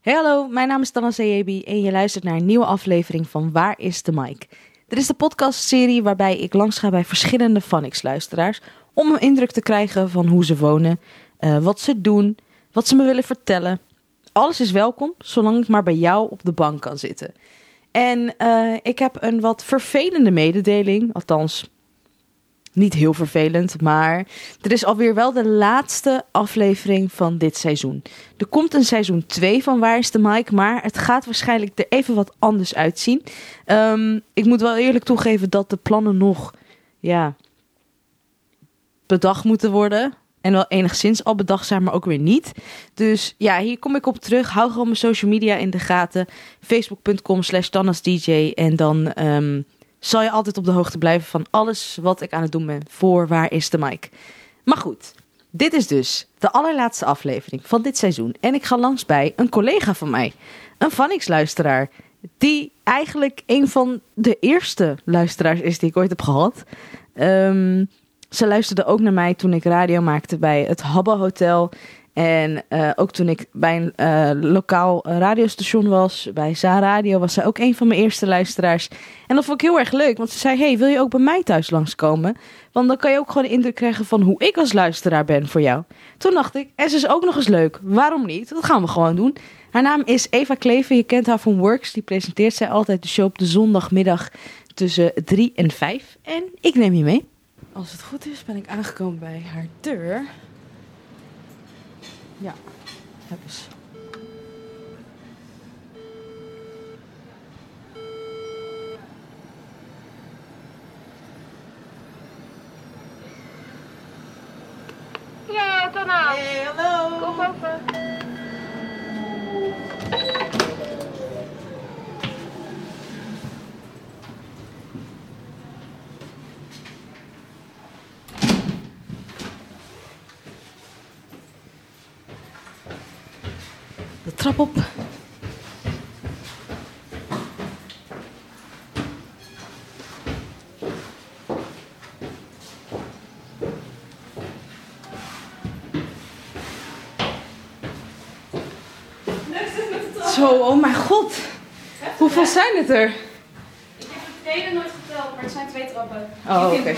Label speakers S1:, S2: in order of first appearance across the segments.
S1: Hey, hallo, mijn naam is Tana Seebi en je luistert naar een nieuwe aflevering van Waar is de Mic? Dit is de podcastserie waarbij ik langs ga bij verschillende Phonics-luisteraars om een indruk te krijgen van hoe ze wonen, eh, wat ze doen, wat ze me willen vertellen. Alles is welkom, zolang ik maar bij jou op de bank kan zitten. En eh, ik heb een wat vervelende mededeling, althans niet heel vervelend, maar er is alweer wel de laatste aflevering van dit seizoen. Er komt een seizoen 2 van Waar is de Mike, maar het gaat waarschijnlijk er even wat anders uitzien. Ehm, ik moet wel eerlijk toegeven dat de plannen nog ja, bedacht moeten worden. En wel enigszins al bedacht zijn, maar ook weer niet. Dus ja, hier kom ik op terug. Hou gewoon mijn social media in de gaten. Facebook.com slash tannasdj. En dan ehm, zal je altijd op de hoogte blijven van alles wat ik aan het doen ben voor Waar is de Mike. Maar goed, dit is dus de allerlaatste aflevering van dit seizoen. En ik ga langs bij een collega van mij, een Vanix-luisteraar. Die eigenlijk een van de eerste luisteraars is die ik ooit heb gehad. Ehm, ze luisterde ook naar mij toen ik radio maakte bij het Habba Hotel. En eh, ook toen ik bij een eh, lokaal eh, radiostation was, bij Za Radio, was zij ook een van mijn eerste luisteraars. En dat vond ik heel erg leuk, want ze zei: Hey, wil je ook bij mij thuis langskomen? Want dan kan je ook gewoon de indruk krijgen van hoe ik als luisteraar ben voor jou. Toen dacht ik, en ze is ook nog eens leuk. Waarom niet? Dat gaan we gewoon doen. Haar naam is Eva Kleven. Je kent haar van Works. Die presenteert zij altijd de show op de zondagmiddag tussen 3 en 5. En ik neem je mee.
S2: Als het goed is, ben ik aangekomen bij haar deur. Ja, heb eens.
S3: Ja, dan nou. hallo. Kom over.
S1: De trap op. Zo, oh mijn god. Hoeveel zijn het er?
S4: Ik heb het hele nooit geteld, maar het zijn twee trappen.
S1: Oh, oké.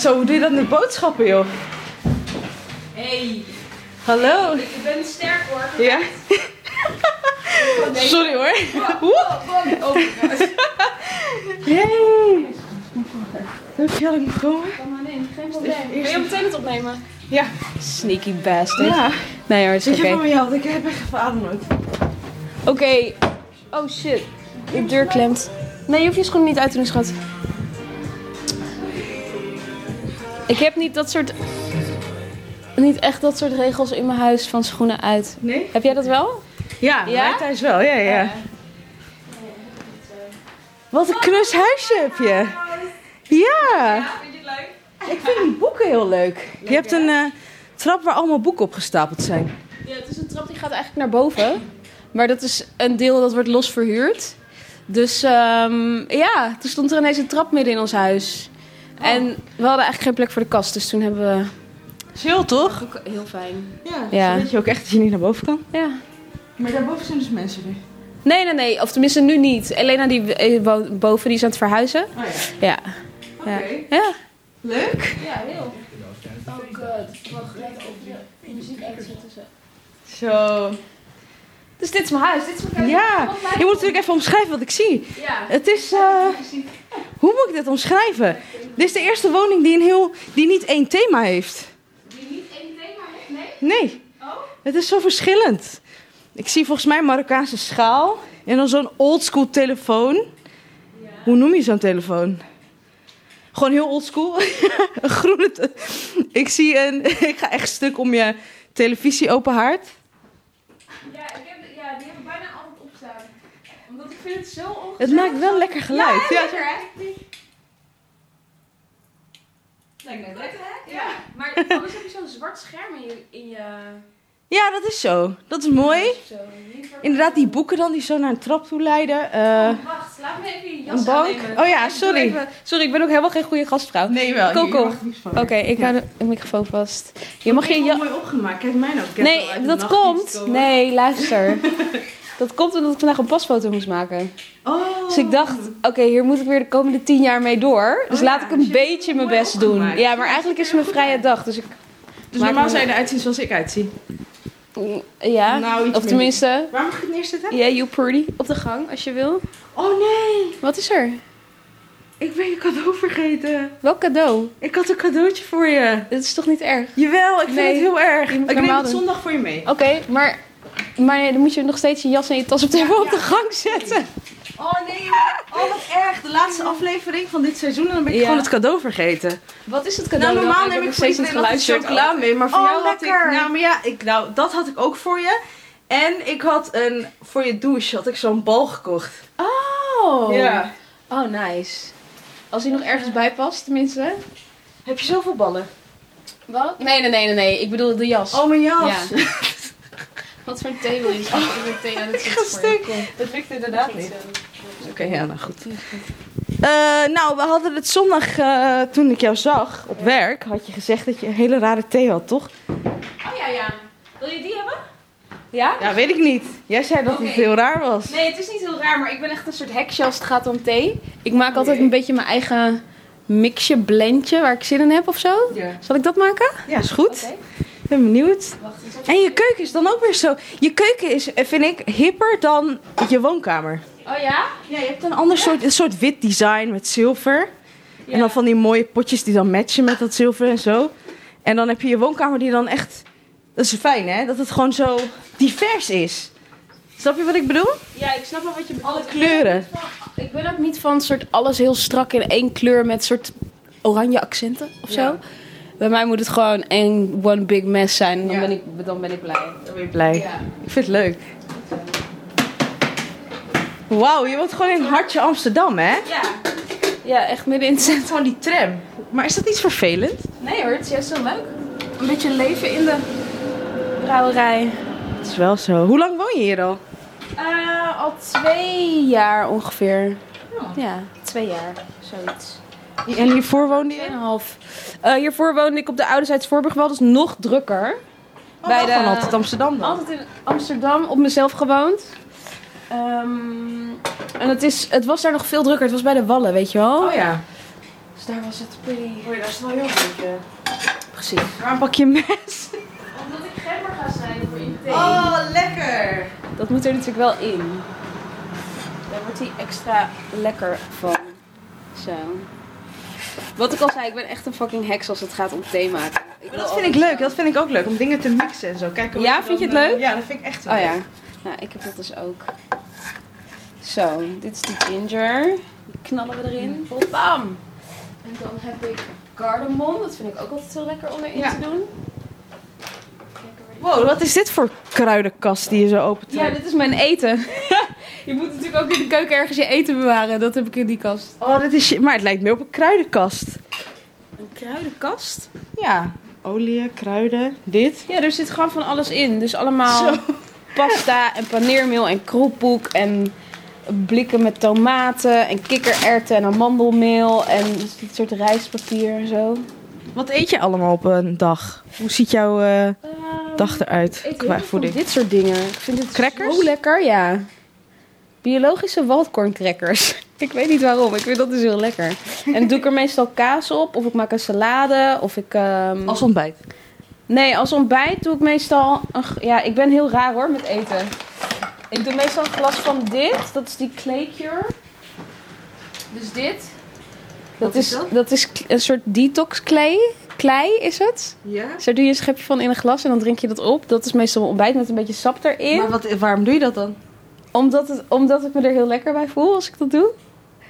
S1: Zo, hoe doe je dat met boodschappen, joh?
S4: Hey,
S1: Hallo.
S4: ik ben sterk hoor.
S1: Ja? Sorry hoor. Oeh.
S4: Oh,
S1: oh. Yay. Leuk dat je had ik komen.
S4: kom maar in, geen probleem. Wil je meteen het opnemen?
S2: Sneaky bastard.
S1: Ja.
S2: Nee hoor, is oké.
S1: jou, want ik heb echt even ademnood.
S2: Oké. Oh shit. De deur klemt. Nee, je hoeft je schoenen niet uit te doen, schat. Ik heb niet dat soort... Niet echt dat soort regels in mijn huis van schoenen uit.
S1: Nee?
S2: Heb jij dat wel?
S1: Ja,
S2: Ja?
S1: wij thuis wel. Ja, ja. Wat een knus huisje heb je. Ja.
S4: Vind je het leuk?
S1: Ik vind die boeken heel leuk. Je hebt een eh, trap waar allemaal boeken op gestapeld zijn.
S2: Ja, het is een trap die gaat eigenlijk naar boven. Maar dat is een deel dat wordt los verhuurd. Dus ehm, ja, toen stond er ineens een trap midden in ons huis. En we hadden eigenlijk geen plek voor de kast. Dus toen hebben we...
S1: Chill toch?
S2: Ook heel fijn.
S1: Ja.
S2: Ja.
S1: Dan weet je ook echt dat je niet naar boven kan.
S2: Ja.
S1: Maar daarboven zijn dus mensen nu.
S2: Nee, nee, nee. Of tenminste nu niet. Elena die eh, wo- boven, die is aan het verhuizen.
S1: Oh ja.
S2: Ja.
S1: Oké.
S2: Ja.
S1: Leuk.
S4: Ja, heel.
S2: Oh god. Wacht, muziek uitzetten zo.
S1: Zo.
S2: Dus dit is mijn huis. Dit is mijn huis.
S1: Ja. Je moet natuurlijk even omschrijven wat ik zie.
S2: Ja.
S1: Het is... eh, hoe moet ik dit omschrijven? Dit is de eerste woning die, een heel, die niet één thema heeft.
S4: Die niet één thema heeft, nee?
S1: Nee.
S4: Oh?
S1: Het is zo verschillend. Ik zie volgens mij een Marokkaanse schaal en dan zo'n oldschool telefoon.
S4: Ja.
S1: Hoe noem je zo'n telefoon? Gewoon heel oldschool. een groene. te- Ik zie een. ik ga echt stuk om je televisie open haard.
S4: Ja, ik heb, ja, die hebben bijna altijd opstaan. Omdat ik vind het zo ongezellig.
S1: Het maakt wel lekker geluid.
S4: Ja, lekker hè? Lijkt me lekker hè? Ja. Maar anders heb je zo'n zwart scherm in je... In je...
S1: Ja, dat is zo. Dat is mooi.
S4: Zo, liever.
S1: Inderdaad, die boeken dan die zo naar een trap toe leiden. Eh,
S4: Oh, wacht, laat me even je jas
S1: een bank.
S4: aannemen.
S1: Oh ja, sorry.
S2: Even- sorry, ik ben ook helemaal geen goede gastvrouw.
S1: Nee, wel.
S2: Coco.
S1: je mag niks van.
S2: Oké, ik hou de de microfoon vast. Je mag
S1: Ik
S2: je
S1: heb het
S2: jas...
S1: mooi opgemaakt. Kijk mij nou. Ik heb wel uit
S2: Nee,
S1: de
S2: dat
S1: nachtdienst
S2: komt.
S1: komen.
S2: Nee, luister. Dat komt omdat ik vandaag een pasfoto moest maken.
S1: Oh.
S2: Dus ik dacht, oké, hier moet ik weer de komende tien jaar mee door. Dus
S1: Oh
S2: laat
S1: ja,
S2: ik een
S1: dus je hebt het
S2: beetje mijn
S1: mooi
S2: best doen.
S1: opgemaakt.
S2: Ja, maar eigenlijk is mijn vrije dag, dus ik...
S1: Dus
S2: Maak
S1: normaal
S2: me-
S1: zou je eruit zien zoals ik uitzie.
S2: Ja,
S1: Nou, iets
S2: of tenminste...
S1: Waar mag ik het neerzetten?
S2: Ja, you pretty. Op de gang, als je wil.
S1: Oh nee.
S2: Wat is er?
S1: Ik ben je cadeau vergeten.
S2: Welk cadeau?
S1: Ik had een cadeautje voor je.
S2: Dit is toch niet erg?
S1: Jawel, ik vind
S2: Nee,
S1: het heel erg.
S2: je moet
S1: Ik neem
S2: normaal
S1: het
S2: doen.
S1: zondag voor je mee.
S2: Oké, maar, maar dan moet je nog steeds je jas en je tas op de, op de gang zetten.
S1: Oh nee, oh wat erg. De laatste aflevering van dit seizoen en dan ben ik
S2: Ja.
S1: gewoon het cadeau vergeten.
S2: Wat is het
S1: Nou,
S2: cadeau? dan?
S1: normaal
S2: heb
S1: neem ik
S2: nog
S1: voor
S2: steeds
S1: iedereen altijd chocola mee, maar voor
S2: Oh,
S1: jou had
S2: lekker.
S1: ik... Nou, maar ja, ik, nou, dat had ik ook voor je. En ik had een, voor je douche had ik zo'n bal gekocht.
S2: Oh. Oh, nice. Als hij nog ergens bij past, tenminste.
S1: Heb je zoveel ballen?
S2: Wat? Nee, nee, nee, nee, nee. Ik bedoel de jas.
S1: Oh, mijn jas.
S2: Ja. Wat voor een thee wil je? Ik wil thee aan het
S1: Ik ga stuk. Dat lukt inderdaad niet. Oké, ja, nou goed. Eh, nou, we hadden het zondag, eh, toen ik jou zag op werk, had je gezegd dat je een hele rare thee had, toch?
S4: Oh ja, ja. Wil je die hebben?
S2: Ja?
S1: Ja, weet ik niet. Jij zei dat
S4: Oké.
S1: het heel raar was.
S4: Nee, het is niet heel raar, maar ik ben echt een soort hek.
S2: Heksje als het gaat om thee. Ik maak altijd een beetje mijn eigen mixje, blendje waar ik zin in heb of zo.
S1: Ja,
S2: Zal ik dat maken?
S1: is goed. Ik ben benieuwd.
S4: Wacht eens.
S1: En je keuken is dan ook weer zo. Je keuken is, eh, vind ik, hipper dan je woonkamer.
S4: Oh ja?
S1: Ja, je hebt een ander soort, een soort wit design met zilver. En dan van die mooie potjes die dan matchen met dat zilver en zo. En dan heb je je woonkamer die dan echt... Dat is fijn, hè? Dat het gewoon zo divers is. Snap je wat ik bedoel?
S4: Ja, ik snap wel wat je bedoelt.
S1: Alle kleuren.
S2: oh, Ik ben ook niet van soort alles heel strak in één kleur met soort oranje accenten of zo.
S1: Ja.
S2: Bij mij moet het gewoon één one big mess zijn. en Dan,
S1: Ja.
S2: ben, ik, dan ben ik blij.
S1: Dan ben je blij.
S2: Ja.
S1: Ik vind het leuk. Wauw, je woont gewoon in het hartje Amsterdam, hè?
S4: Ja.
S2: ja, echt midden in het
S1: Het is gewoon die tram. Maar is dat niet vervelend?
S2: Nee hoor, het is juist zo leuk. Een beetje leven in de brouwerij.
S1: Dat is wel zo. Hoe lang woon je hier al?
S2: Eh, al twee jaar ongeveer. Ja, Oh. twee jaar, zoiets.
S1: En hiervoor woonde je?
S2: Tweeënhalf. Eh hiervoor woonde ik op de Ouderzijds Voorburg wel, dus nog drukker.
S1: Oh,
S2: Bij
S1: wel
S2: de-
S1: gewoon altijd Amsterdam dan.
S2: Altijd in Amsterdam op mezelf gewoond. Ehm, en het, is, het was daar nog veel drukker. Het was bij de Wallen, weet je wel.
S1: Oh, ja.
S2: Oh Dus daar was het pretty.
S1: Hoor je, dat Oh is wel heel goed.
S2: Precies.
S1: Waarom pak je mes?
S4: Omdat ik gemmer ga zijn voor in thee.
S1: Oh. lekker.
S2: Dat moet er natuurlijk wel in. Daar wordt hij extra lekker van. Zo. Wat ik al zei, ik ben echt een fucking heks als het gaat om thee maken. Ik
S1: Maar
S2: wil
S1: dat vind ik
S2: altijd-
S1: leuk, dat vind ik ook leuk. Om dingen te mixen en zo. Kijken hoe
S2: Ja, vind je het
S1: eh,
S2: leuk?
S1: Ja, dat vind ik echt wel
S2: Oh
S1: leuk.
S2: ja, nou ik heb dat dus ook. Zo, dit is die ginger. Die knallen we erin. Bam! En dan heb ik cardamom. Dat vind ik ook altijd heel lekker om erin
S1: Ja.
S2: te doen.
S1: Wow, wat is dit voor kruidenkast die je zo opent?
S2: Ja, dit is mijn eten. je moet natuurlijk ook in de keuken ergens je eten bewaren. Dat heb ik in die kast.
S1: Oh, dat is shit. Maar het lijkt meer op een kruidenkast.
S2: Een kruidenkast?
S1: Ja. Olie, kruiden, dit.
S2: Ja, er zit gewoon van alles in. Dus allemaal pasta en paneermeel en kroephoek en blikken met tomaten en kikkererwten en amandelmeel en dus dit soort rijstpapier en zo.
S1: Wat eet je allemaal op een dag? Hoe ziet jouw eh, dag eruit
S2: Ehm, Ik
S1: qua
S2: eet heel veel
S1: voeding?
S2: dit soort dingen. Ik vind het
S1: Crackers?
S2: zo lekker, ja. Biologische waldkorncrackers. Ik weet niet waarom, ik vind dat dus heel lekker. En doe ik er meestal kaas op, of ik maak een salade, of ik... ehm,
S1: Als ontbijt.
S2: Nee, als ontbijt doe ik meestal... Een, g- ja, ik ben heel raar hoor met eten. Ik doe meestal een glas van dit. Dat is die clay cure. Dus dit. Dat,
S1: is
S2: is,
S1: dat?
S2: dat is k- een soort detox clay. Klei is het.
S1: Ja.
S2: Dus daar doe je een schepje van in een glas en dan drink je dat op. Dat is meestal mijn ontbijt met een beetje sap erin.
S1: Maar wat, waarom doe je dat dan?
S2: Omdat, het, omdat ik me er heel lekker bij voel als ik dat doe.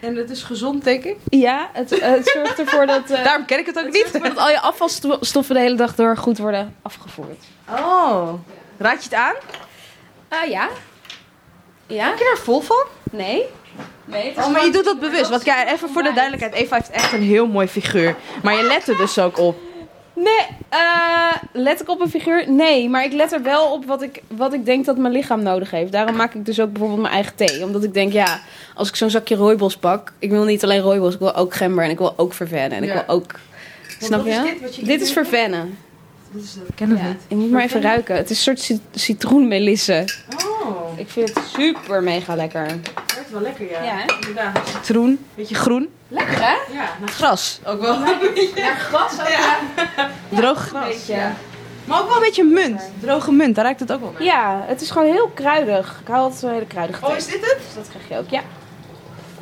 S1: En het is gezond, denk ik.
S2: Ja, het, eh, het zorgt ervoor dat, eh,
S1: Daarom ken ik het ook
S2: het zorgt
S1: niet.
S2: ervoor dat al je afvalstoffen de hele dag door goed worden afgevoerd.
S1: Oh. Raad je het aan?
S2: Ah ja. Ja?
S1: Heb je daar vol van?
S2: Nee. Nee, het is
S1: Oh, maar
S2: gewoon-
S1: je doet dat bewust. Want kijk, even voor de duidelijkheid. Eva heeft echt een heel mooi figuur. Maar je let er dus ook op.
S2: Nee, eh, let ik op een figuur? Nee, maar ik let er wel op wat ik, wat ik denk dat mijn lichaam nodig heeft. Daarom maak ik dus ook bijvoorbeeld mijn eigen thee. Omdat ik denk, ja, als ik zo'n zakje rooibos pak... Ik wil niet alleen rooibos, ik wil ook gember en ik wil ook vervennen. En ik
S1: Ja.
S2: wil ook... Snap je?
S1: dit wat
S2: Dit is vervennen.
S1: Kennen we
S2: Ja, ik moet maar even ruiken. Het is een soort cit- citroenmelisse.
S1: Oh,
S2: Ik vind het super mega lekker.
S1: dat is wel lekker, ja.
S2: Ja, hè?
S1: inderdaad. Citroen, beetje groen.
S2: Lekker hè?
S1: Ja, gras. Ook wel.
S2: Ja, gras ook. Ja.
S1: Droog
S2: een
S1: gras.
S2: beetje.
S1: ja. Maar ook wel een beetje munt. Droge munt, daar ruikt het ook wel naar.
S2: Ja, het is gewoon heel kruidig. Ik hou altijd zo'n hele kruidige thee.
S1: Oh, dit het?
S2: Dus dat krijg je ook, ja.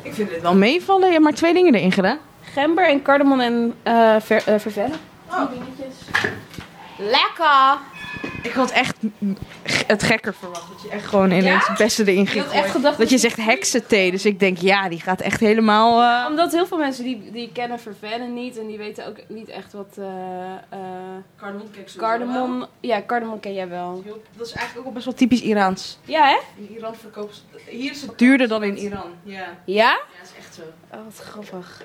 S1: Ik vind het wel meevallen. Je hebt maar twee dingen erin gedaan.
S2: Gember en cardamom en eh ver, eh, vervellen.
S1: Oh.
S2: Lekker!
S1: Ik had echt m- g- het gekker verwacht. Dat je echt gewoon ineens
S2: Ja?
S1: het beste erin
S2: Ik
S1: ging
S2: had echt
S1: gooien.
S2: gedacht...
S1: Dat je zegt heksenthee. Dus ik denk, ja, die gaat echt helemaal... eh,
S2: Omdat heel veel mensen die, die kennen vervellen niet. En die weten ook niet echt wat... eh eh
S1: Cardamom cake
S2: cardamom... Ja, cardamom ken jij wel.
S1: Dat is eigenlijk ook wel best wel typisch Iraans.
S2: Ja, hè?
S1: In Iran verkopen ze... Hier is het duurder dan in Iran. Ja,
S2: Ja?
S1: ja dat is echt zo.
S2: Oh, wat grappig.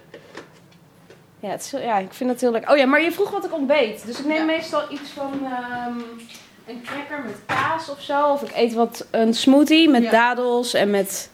S2: Ja, het is, heel- ja, ik vind dat heel leuk. Oh ja, maar je vroeg wat ik ontbeet. Dus ik neem
S1: Ja.
S2: meestal iets van ehm, een cracker met kaas of zo. Of ik eet wat een smoothie met
S1: Ja.
S2: dadels en met...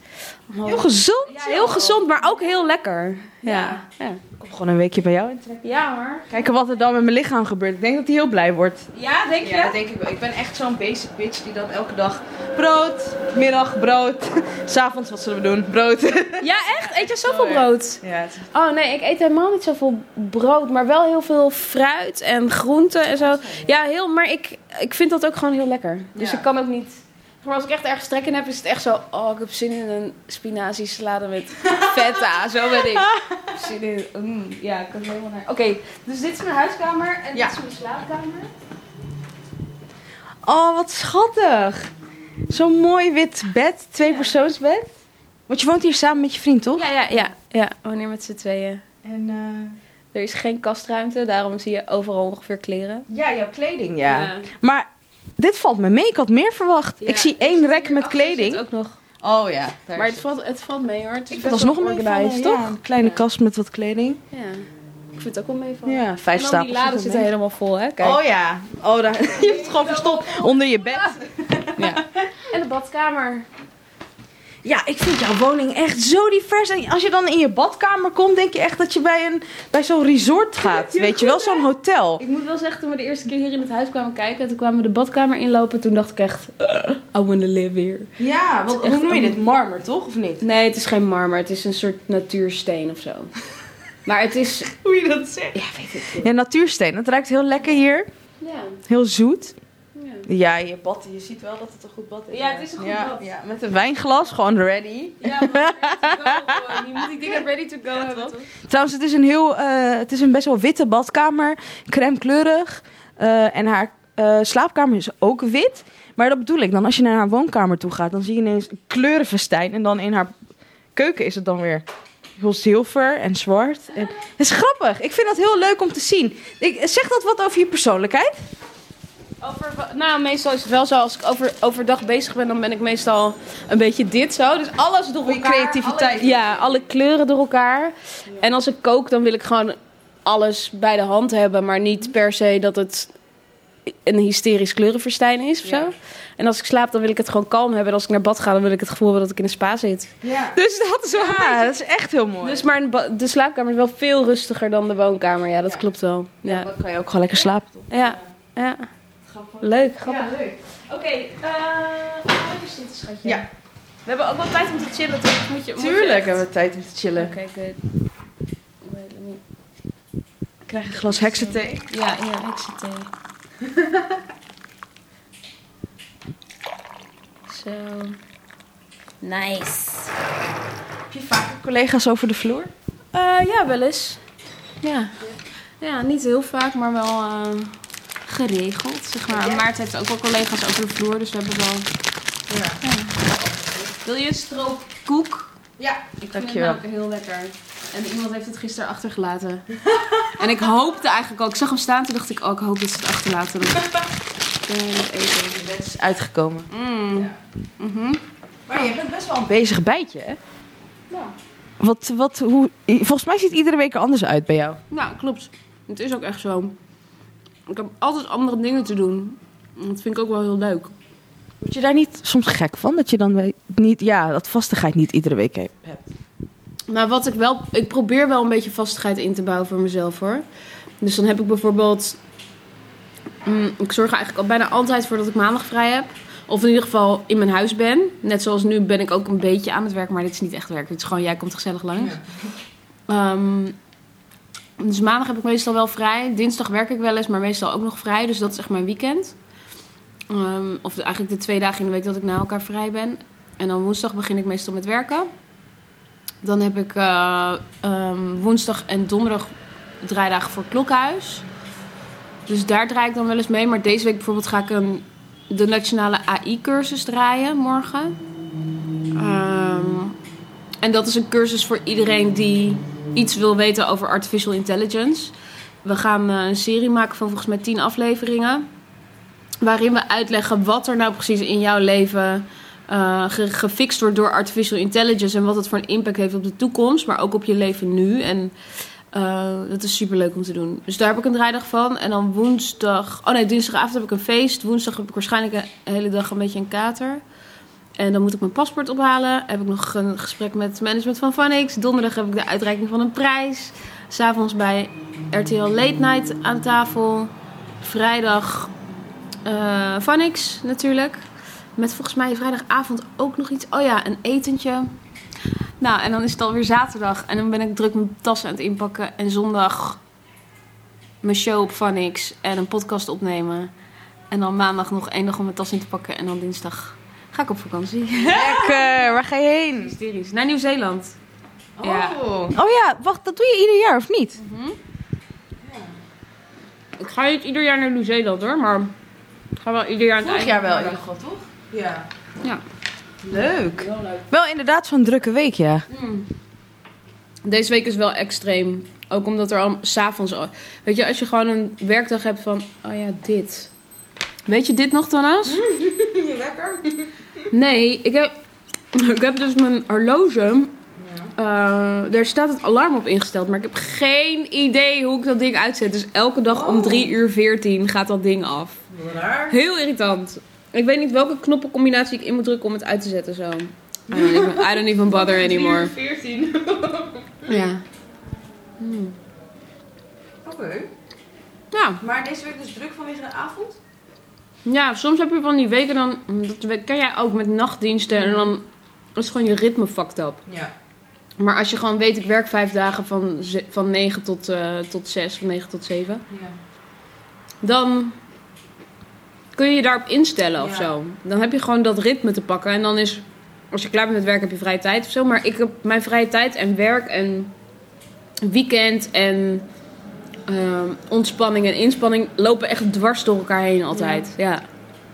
S1: Heel gezond.
S2: Ja, heel gezond, maar ook heel lekker.
S1: Ja.
S2: Ja. Ja,
S1: Ik kom gewoon een weekje bij jou in.
S2: ja hoor.
S1: Kijken wat er dan met mijn lichaam gebeurt. Ik denk dat hij heel blij wordt.
S2: Ja, denk je?
S1: Ja, dat denk ik wel. Ik ben echt zo'n basic bitch die dan elke dag brood, middag brood, s'avonds wat zullen we doen? Brood.
S2: Ja, echt? Eet je zoveel
S1: Oh, ja.
S2: brood?
S1: Ja, het is
S2: Oh nee, ik eet helemaal niet zoveel brood, maar wel heel veel fruit en groenten en zo. Ja, heel, maar ik, ik vind dat ook gewoon heel lekker. Dus
S1: Ja.
S2: ik kan ook niet. Maar als ik echt ergens trek in heb, is het echt zo. Oh, ik heb zin in een spinazie salade met feta. zo ben ik. Ik heb Zin in. mm,
S1: Hmm.
S2: ja, ik kan er helemaal naar. Oké, dus dit is mijn huiskamer en
S1: Ja.
S2: dit is mijn slaapkamer.
S1: Oh, wat schattig. Zo'n mooi wit bed, twee persoonsbed. Want je woont hier samen met je vriend, toch?
S2: Ja, ja, ja. Ja, wanneer met z'n tweeën.
S1: En
S2: Er is geen kastruimte, daarom zie je overal ongeveer kleren.
S1: ja, jouw kleding, ja. Maar dit valt me mee, ik had meer verwacht.
S2: Ja,
S1: ik zie één rek met
S2: Hierachter zit
S1: kleding.
S2: Ook nog.
S1: Oh ja, daar
S2: Maar het valt, het valt mee hoor. Het is
S1: dat is nog een
S2: organisatie,
S1: organisatie, toch? een kleine kast met wat kleding.
S2: Ja. Ik vind het ook wel meevallen.
S1: Ja, vijf
S2: en dan die
S1: stapels.
S2: laden
S1: zit
S2: zitten
S1: ermee.
S2: helemaal vol, hè? Kijk.
S1: Oh ja, oh, daar, je hebt het gewoon verstopt onder je bed.
S2: En de badkamer.
S1: Ja, ik vind jouw woning echt zo divers. En als je dan in je badkamer komt, denk je echt dat je bij, een- bij zo'n resort gaat. Weet je wel, zo'n hotel.
S2: Ik moet wel zeggen, toen we de eerste keer hier in het huis kwamen kijken, toen kwamen we de badkamer inlopen, toen dacht ik echt, "Ugh, I wanna live here.
S1: Ja, want
S2: Het is echt
S1: hoe noem je
S2: een-
S1: dit? Marmer, toch? Of niet?
S2: Nee, het is geen marmer, het is een soort natuursteen of zo. Maar het is,
S1: Hoe je dat zegt.
S2: ja, weet ik veel.
S1: Ja, natuursteen. Het ruikt heel lekker hier.
S2: Ja,
S1: Heel zoet.
S2: ja.
S1: Ja, je bad, je ziet wel dat het een goed bad is.
S2: Ja, het is een goed bad.
S1: Ja, met een wijnglas, gewoon ready.
S2: Ja, maar je moet die dingen ready to go hebben, toch?
S1: Trouwens, het is een heel, eh, het is een best wel witte badkamer, crème kleurig. Eh, en haar eh, slaapkamer is ook wit. Maar dat bedoel ik dan, als je naar haar woonkamer toe gaat, dan zie je ineens een kleurenfestijn. En dan in haar keuken is het dan weer heel zilver en zwart. En, het is grappig, ik vind dat heel leuk om te zien. Ik, zeg dat wat over je persoonlijkheid?
S2: Over, nou, meestal is het wel zo. Als ik over, overdag bezig ben, dan ben ik meestal een beetje dit zo. Dus alles door
S1: Voor je
S2: elkaar.
S1: creativiteit.
S2: alle- ja, alle kleuren door elkaar. En als ik kook, dan wil ik gewoon alles bij de hand hebben. Maar
S1: Mhm.
S2: niet per se dat het een hysterisch kleurenverstijn is of
S1: Ja.
S2: zo. En als ik slaap, dan wil ik het gewoon kalm hebben. En als ik naar bad ga, dan wil ik het gevoel hebben dat ik in een spa zit.
S1: Ja.
S2: Dus dat is wel een
S1: Ja,
S2: beetje-
S1: dat is echt heel mooi.
S2: Dus maar een ba- de slaapkamer is wel veel rustiger dan de woonkamer. Ja, dat
S1: Ja.
S2: klopt wel. Ja.
S1: dan kan je ook gewoon lekker slapen.
S2: Ja. ja. Leuk, grappig.
S1: Ja, leuk.
S2: Oké, eh wat is dit, schatje?
S1: Ja.
S2: We hebben ook wel tijd om te chillen, toch? Moet je, moet je
S1: Tuurlijk
S2: echt- Oh, eh,
S1: hebben we tijd om te chillen.
S2: Oké, good. Wait, let me-
S1: Ik krijg een glas heksenthee.
S2: Ja, ja, ik zit thee. Zo. Nice.
S1: Heb je vaker collega's over de vloer?
S2: Eh, ja, wel eens. Ja. Ja, niet heel vaak, maar wel eh, geregeld, zeg maar. Maarten heeft ook wel collega's over de vloer, dus we hebben wel...
S1: Ja.
S2: Wil je een stroop koek?
S1: Ja,
S2: Ik vind
S1: Dankjewel.
S2: het ook heel lekker. En iemand heeft het gisteren achtergelaten. en ik hoopte eigenlijk al, ik zag hem staan, toen dacht ik, oh, ik hoop dat ze het achterlaten. Dan kun je het eten.
S1: Het is uitgekomen.
S2: Mm. Mhm.
S1: Maar je bent best wel een bezig bijtje, hè?
S2: Ja.
S1: Wat, wat, hoe, volgens mij ziet iedere week er anders uit bij jou.
S2: Nou, klopt. Het is ook echt zo. Ik heb altijd andere dingen te doen. Dat vind ik ook wel heel leuk.
S1: Word je daar niet soms gek van? Dat je dan weet- niet, ja, dat vastigheid niet iedere week he- hebt.
S2: Nou, wat ik wel. Ik probeer wel een beetje vastigheid in te bouwen voor mezelf hoor. Dus dan heb ik bijvoorbeeld. mm, ik zorg er eigenlijk al bijna altijd voor dat ik maandag vrij heb. Of in ieder geval in mijn huis ben. Net zoals nu ben ik ook een beetje aan het werk, maar dit is niet echt werk. Dit is gewoon, jij komt gezellig langs. Ehm, dus maandag heb ik meestal wel vrij. Dinsdag werk ik wel eens, maar meestal ook nog vrij. Dus dat is echt mijn weekend. Ehm, of de- eigenlijk de twee dagen in de week dat ik na elkaar vrij ben. En dan woensdag begin ik meestal met werken. Dan heb ik eh, ehm, woensdag en donderdag draaidagen voor Klokhuis. Dus daar draai ik dan wel eens mee. Maar deze week bijvoorbeeld ga ik een, de nationale AI-cursus draaien morgen. Ehm, en dat is een cursus voor iedereen die iets wil weten over artificial intelligence. We gaan eh, een serie maken van volgens mij 10 afleveringen. Waarin we uitleggen wat er nou precies in jouw leven eh, ge- gefixt wordt door artificial intelligence en wat het voor een impact heeft op de toekomst, maar ook op je leven nu. En eh, dat is super leuk om te doen. Dus daar heb ik een draaidag van. En dan woensdag, oh nee, dinsdagavond heb ik een feest. Woensdag heb ik waarschijnlijk een hele dag een beetje een kater. En dan moet ik mijn paspoort ophalen. Heb ik nog een gesprek met het management van Vanix. Donderdag heb ik de uitreiking van een prijs. S'avonds bij RTL Late Night aan tafel. Vrijdag eh Vanix natuurlijk. Met volgens mij vrijdagavond ook nog iets. Oh ja, een etentje. Nou, en dan is het alweer zaterdag. En dan ben ik druk mijn tassen aan het inpakken. En zondag mijn show op Vanix en een podcast opnemen. En dan maandag nog één dag om mijn tas in te pakken. En dan dinsdag ga ik op vakantie.
S1: Lekker, waar ga je heen?
S2: Hysterisch. Naar Nieuw-Zeeland. Ja.
S1: Oh ja, wacht, dat doe je ieder jaar of niet?
S2: Ik ga niet ieder jaar naar Nieuw-Zeeland hoor, maar ik ga wel ieder jaar aan het einde van het jaar.
S1: geval, toch? Ja.
S2: Ja.
S1: Leuk. Wel inderdaad zo'n drukke week, ja.
S2: Mm. Deze week is wel extreem. Ook omdat er al s'avonds... al- Weet je, als je gewoon een werkdag hebt van... Oh ja, dit. Weet je dit nog, Thomas? Lekker. Nee, ik heb, ik heb dus mijn horloge... eh, daar staat het alarm op ingesteld. Maar ik heb geen idee hoe ik dat ding uitzet. Dus elke dag om 3 uur 14 gaat dat ding af. Heel irritant. Ik weet niet welke knoppencombinatie ik in moet drukken om het uit te zetten zo. I don't even, I don't even bother anymore.
S4: 14.
S2: Ja.
S1: Oké.
S2: Hmm. Ja.
S1: Maar deze week dus druk vanwege de avond?
S2: ja, soms heb je van die weken dan... Dat we- ken jij ook met nachtdiensten en dan is gewoon je ritme fucked up.
S1: Ja.
S2: Maar als je gewoon weet, ik werk vijf dagen van, ze- van 9 tot, eh, tot 6 of 9 tot 7...
S1: ja.
S2: dan kun je je daarop instellen of
S1: Ja.
S2: zo. Dan heb je gewoon dat ritme te pakken. En dan is, als je klaar bent met werk, heb je vrije tijd of zo. Maar ik heb mijn vrije tijd en werk en weekend en ehm, ontspanning en inspanning lopen echt dwars door elkaar heen altijd. Ja.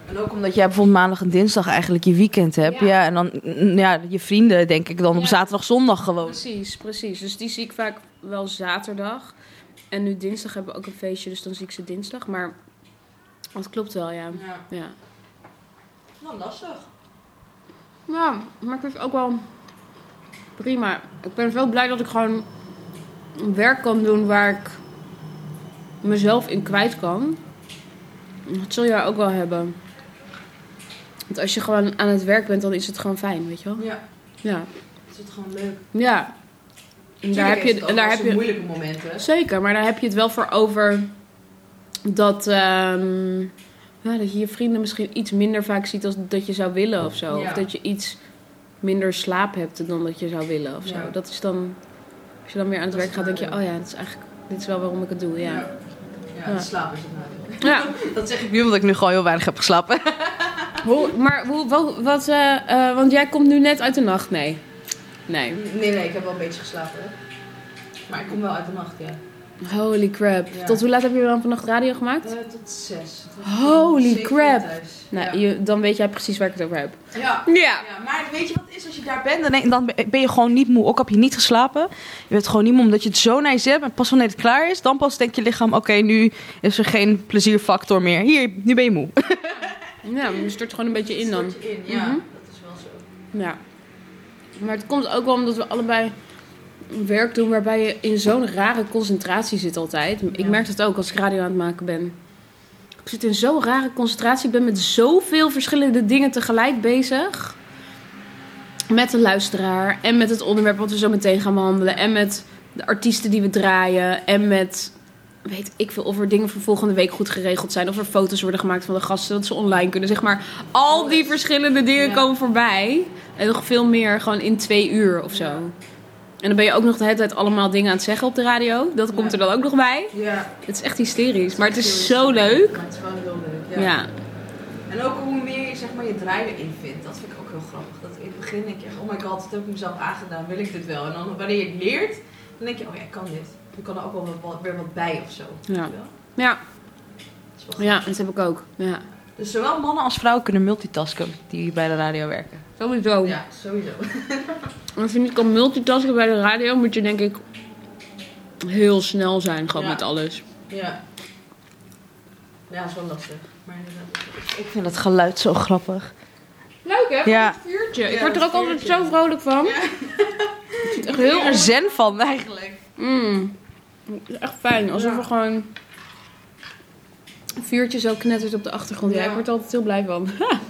S1: En ook omdat jij bijvoorbeeld maandag en dinsdag eigenlijk je weekend hebt. Ja,
S2: Ja.
S1: en dan mm, ja, je vrienden denk ik dan op
S2: Ja.
S1: zaterdag, zondag gewoon.
S2: Precies, precies. Dus die zie ik vaak wel zaterdag. En nu dinsdag hebben we ook een feestje, dus dan zie ik ze dinsdag. Maar dat klopt wel, ja. ja.
S1: Dan Nou, lastig.
S2: Ja, maar ik vind het ook wel prima. Ik ben wel blij dat ik gewoon een werk kan doen waar ik mezelf in kwijt kan. Dat zul jij ook wel hebben. Want als je gewoon aan het werk bent, dan is het gewoon fijn, weet je wel?
S1: Ja,
S2: Ja.
S1: is het gewoon leuk.
S2: Ja. En daar heb je, en daar heb je
S1: moeilijke momenten.
S2: Zeker, maar daar heb je het wel voor over dat, ehm, ja, dat je je vrienden misschien iets minder vaak ziet als dat je zou willen of zo.
S1: Ja.
S2: Of dat je iets minder slaap hebt dan dat je zou willen of zo.
S1: Ja.
S2: Dat is dan, als je dan weer aan het
S1: Dat is
S2: werk gaat, denk je,
S1: waar,
S2: oh ja, dit is eigenlijk, dit is wel waarom ik het doe, ja. Ja.
S1: slapen is het
S2: Ja,
S1: Dat zeg ik nu omdat ik nu gewoon heel weinig heb geslapen.
S2: Hoe, maar hoe, wat, wat, eh, eh, want jij komt nu net uit de nacht, nee. Nee.
S1: Nee, nee, ik heb wel een beetje geslapen. Maar ik kom wel uit de nacht, ja.
S2: Holy crap.
S1: Ja. Eh,
S2: Tot hoe laat heb je dan vannacht radio gemaakt?
S1: tot zes.
S2: Holy Zeker crap. Nou, je, dan weet jij precies waar ik het over heb.
S1: Ja.
S2: Ja.
S1: Ja, maar weet je wat het is als je daar bent? Dan, dan ben je gewoon niet moe. Ook heb je niet geslapen. Je bent gewoon niet moe omdat je het zo nice hebt. En pas wanneer het klaar is, dan pas denkt je lichaam... oké, nu is er geen plezierfactor meer. Hier, nu ben je moe.
S2: Ja, je stort gewoon een beetje in dan.
S1: in,
S2: ja. Mhm.
S1: Dat is wel zo.
S2: Ja. Maar het komt ook wel omdat we allebei werk doen waarbij je in zo'n rare concentratie zit altijd. Ik
S1: Ja.
S2: merk dat ook als ik radio aan het maken ben. Ik zit in zo'n rare concentratie. Ik ben met zoveel verschillende dingen tegelijk bezig. Met de luisteraar en met het onderwerp wat we zo meteen gaan behandelen. En met de artiesten die we draaien. En met, weet ik veel, of er dingen voor volgende week goed geregeld zijn. Of er foto's worden gemaakt van de gasten, dat ze online kunnen. Zeg maar, al die verschillende dingen
S4: Ja.
S2: komen voorbij. En nog veel meer gewoon in twee uur of zo. En dan ben je ook nog de hele tijd allemaal dingen aan het zeggen op de radio. Dat komt er dan ook nog bij.
S1: Ja,
S2: Het is echt hysterisch, maar het is zo leuk.
S1: maar het is wel heel leuk.
S2: Ja.
S1: En ook hoe meer je zeg maar, je draaien in vindt, dat vind ik ook heel grappig. Dat in het begin denk je echt, oh my god, dat heb ik mezelf aangedaan, wil ik dit wel? En dan wanneer je het leert, dan denk je, oh ja, ik kan dit. Dan kan er ook wel wat- wat, weer wat bij of zo.
S2: Ja.
S1: Weet je wel?
S2: Ja,
S1: Dat is wel grappig.
S2: ja, dat heb ik ook. Ja.
S1: Dus zowel mannen als vrouwen kunnen multitasken die bij de radio werken.
S2: Sowieso.
S1: Ja, sowieso.
S2: Maar vind ik al multitasken bij de radio moet je denk ik heel snel zijn, gewoon
S1: Ja.
S2: met alles.
S1: Ja. Ja, dat is wel lastig. Maar ik vind het geluid zo grappig.
S2: Leuk hè?
S1: Ja.
S2: Vuurtje. Ik
S1: Ja,
S2: word er ook
S1: dat
S2: altijd
S1: vuurtje.
S2: zo vrolijk van. Ik vind het echt heel
S1: er zen van eigenlijk.
S2: Mm. Het is echt fijn. Alsof er gewoon een vuurtje zo knettert op de achtergrond. Ja,
S1: Ja.
S2: ik word er altijd heel blij van.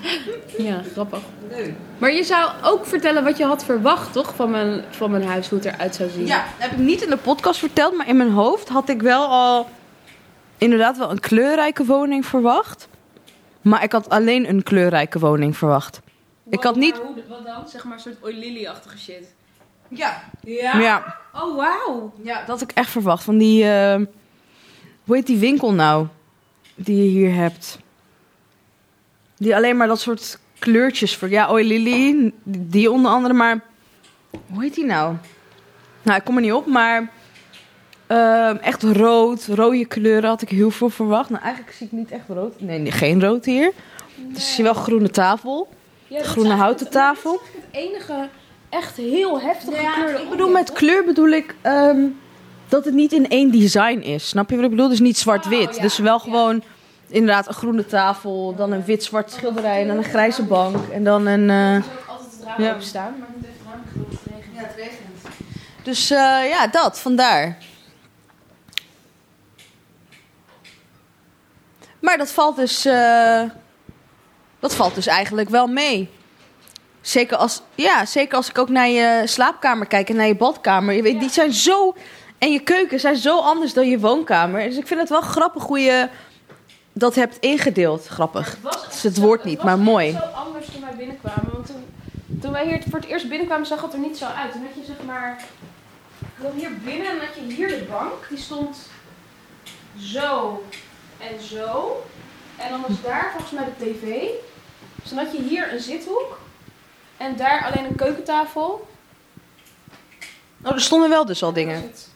S2: ja, grappig.
S1: Leuk.
S2: Maar je zou ook vertellen wat je had verwacht, toch? Van mijn, van mijn huis, hoe het eruit zou zien.
S1: Ja, dat heb ik niet in de podcast verteld, maar in mijn hoofd had ik wel al inderdaad wel een kleurrijke woning verwacht. Maar ik had alleen een kleurrijke woning verwacht. Ik had niet.
S2: wat dan? Zeg maar een soort oilily-achtige shit.
S1: Ja,
S2: Ja?
S1: ja,
S2: Oh, wauw.
S1: ja, dat had ik echt verwacht. Van die. eh, hoe heet die winkel nou? Die je hier hebt. Die alleen maar dat soort kleurtjes voor. Ja, Oi Lily, die onder andere, maar. Hoe heet die nou? Nou, ik kom er niet op, maar. ehm, echt rood, rode kleuren had ik heel veel verwacht. Nou, eigenlijk zie ik niet echt rood. Nee, nee, geen rood hier. Dus zie je wel groene tafel. Groene houten tafel.
S2: Het enige echt heel heftige kleur.
S1: Ik bedoel, met kleur bedoel ik ehm, dat het niet in één design is. Snap je wat ik bedoel? Dus niet zwart-wit.
S2: Oh, ja.
S1: Dus wel gewoon inderdaad een groene tafel, dan een wit-zwart schilderij en dan een grijze bank en dan een... eh,
S2: ook altijd het
S1: Ja.
S2: openstaan, maar ik moet even ruim genoeg regenen.
S3: Ja, het regent.
S1: Dus eh, ja, dat, vandaar. Maar dat valt dus... eh, dat valt dus eigenlijk wel mee. Zeker als, ja, zeker als ik ook naar je slaapkamer kijk en naar je badkamer. Je weet, die zijn zo... En je keuken zijn zo anders dan je woonkamer. Dus ik vind het wel grappig hoe je dat hebt ingedeeld. Grappig.
S2: Het,
S1: is het woord niet, maar mooi.
S2: Het was echt zo anders toen wij binnenkwamen. Want toen, toen wij hier voor het eerst binnenkwamen, zag het er niet zo uit. Toen had je zeg maar... Dan hier binnen en dan had je hier de bank. Die stond zo en zo. En dan was daar volgens mij de tv. Dus dan had je hier een zithoek. En daar alleen een keukentafel.
S1: Nou, er stonden wel dus al
S2: Dat
S1: dingen.
S2: was het.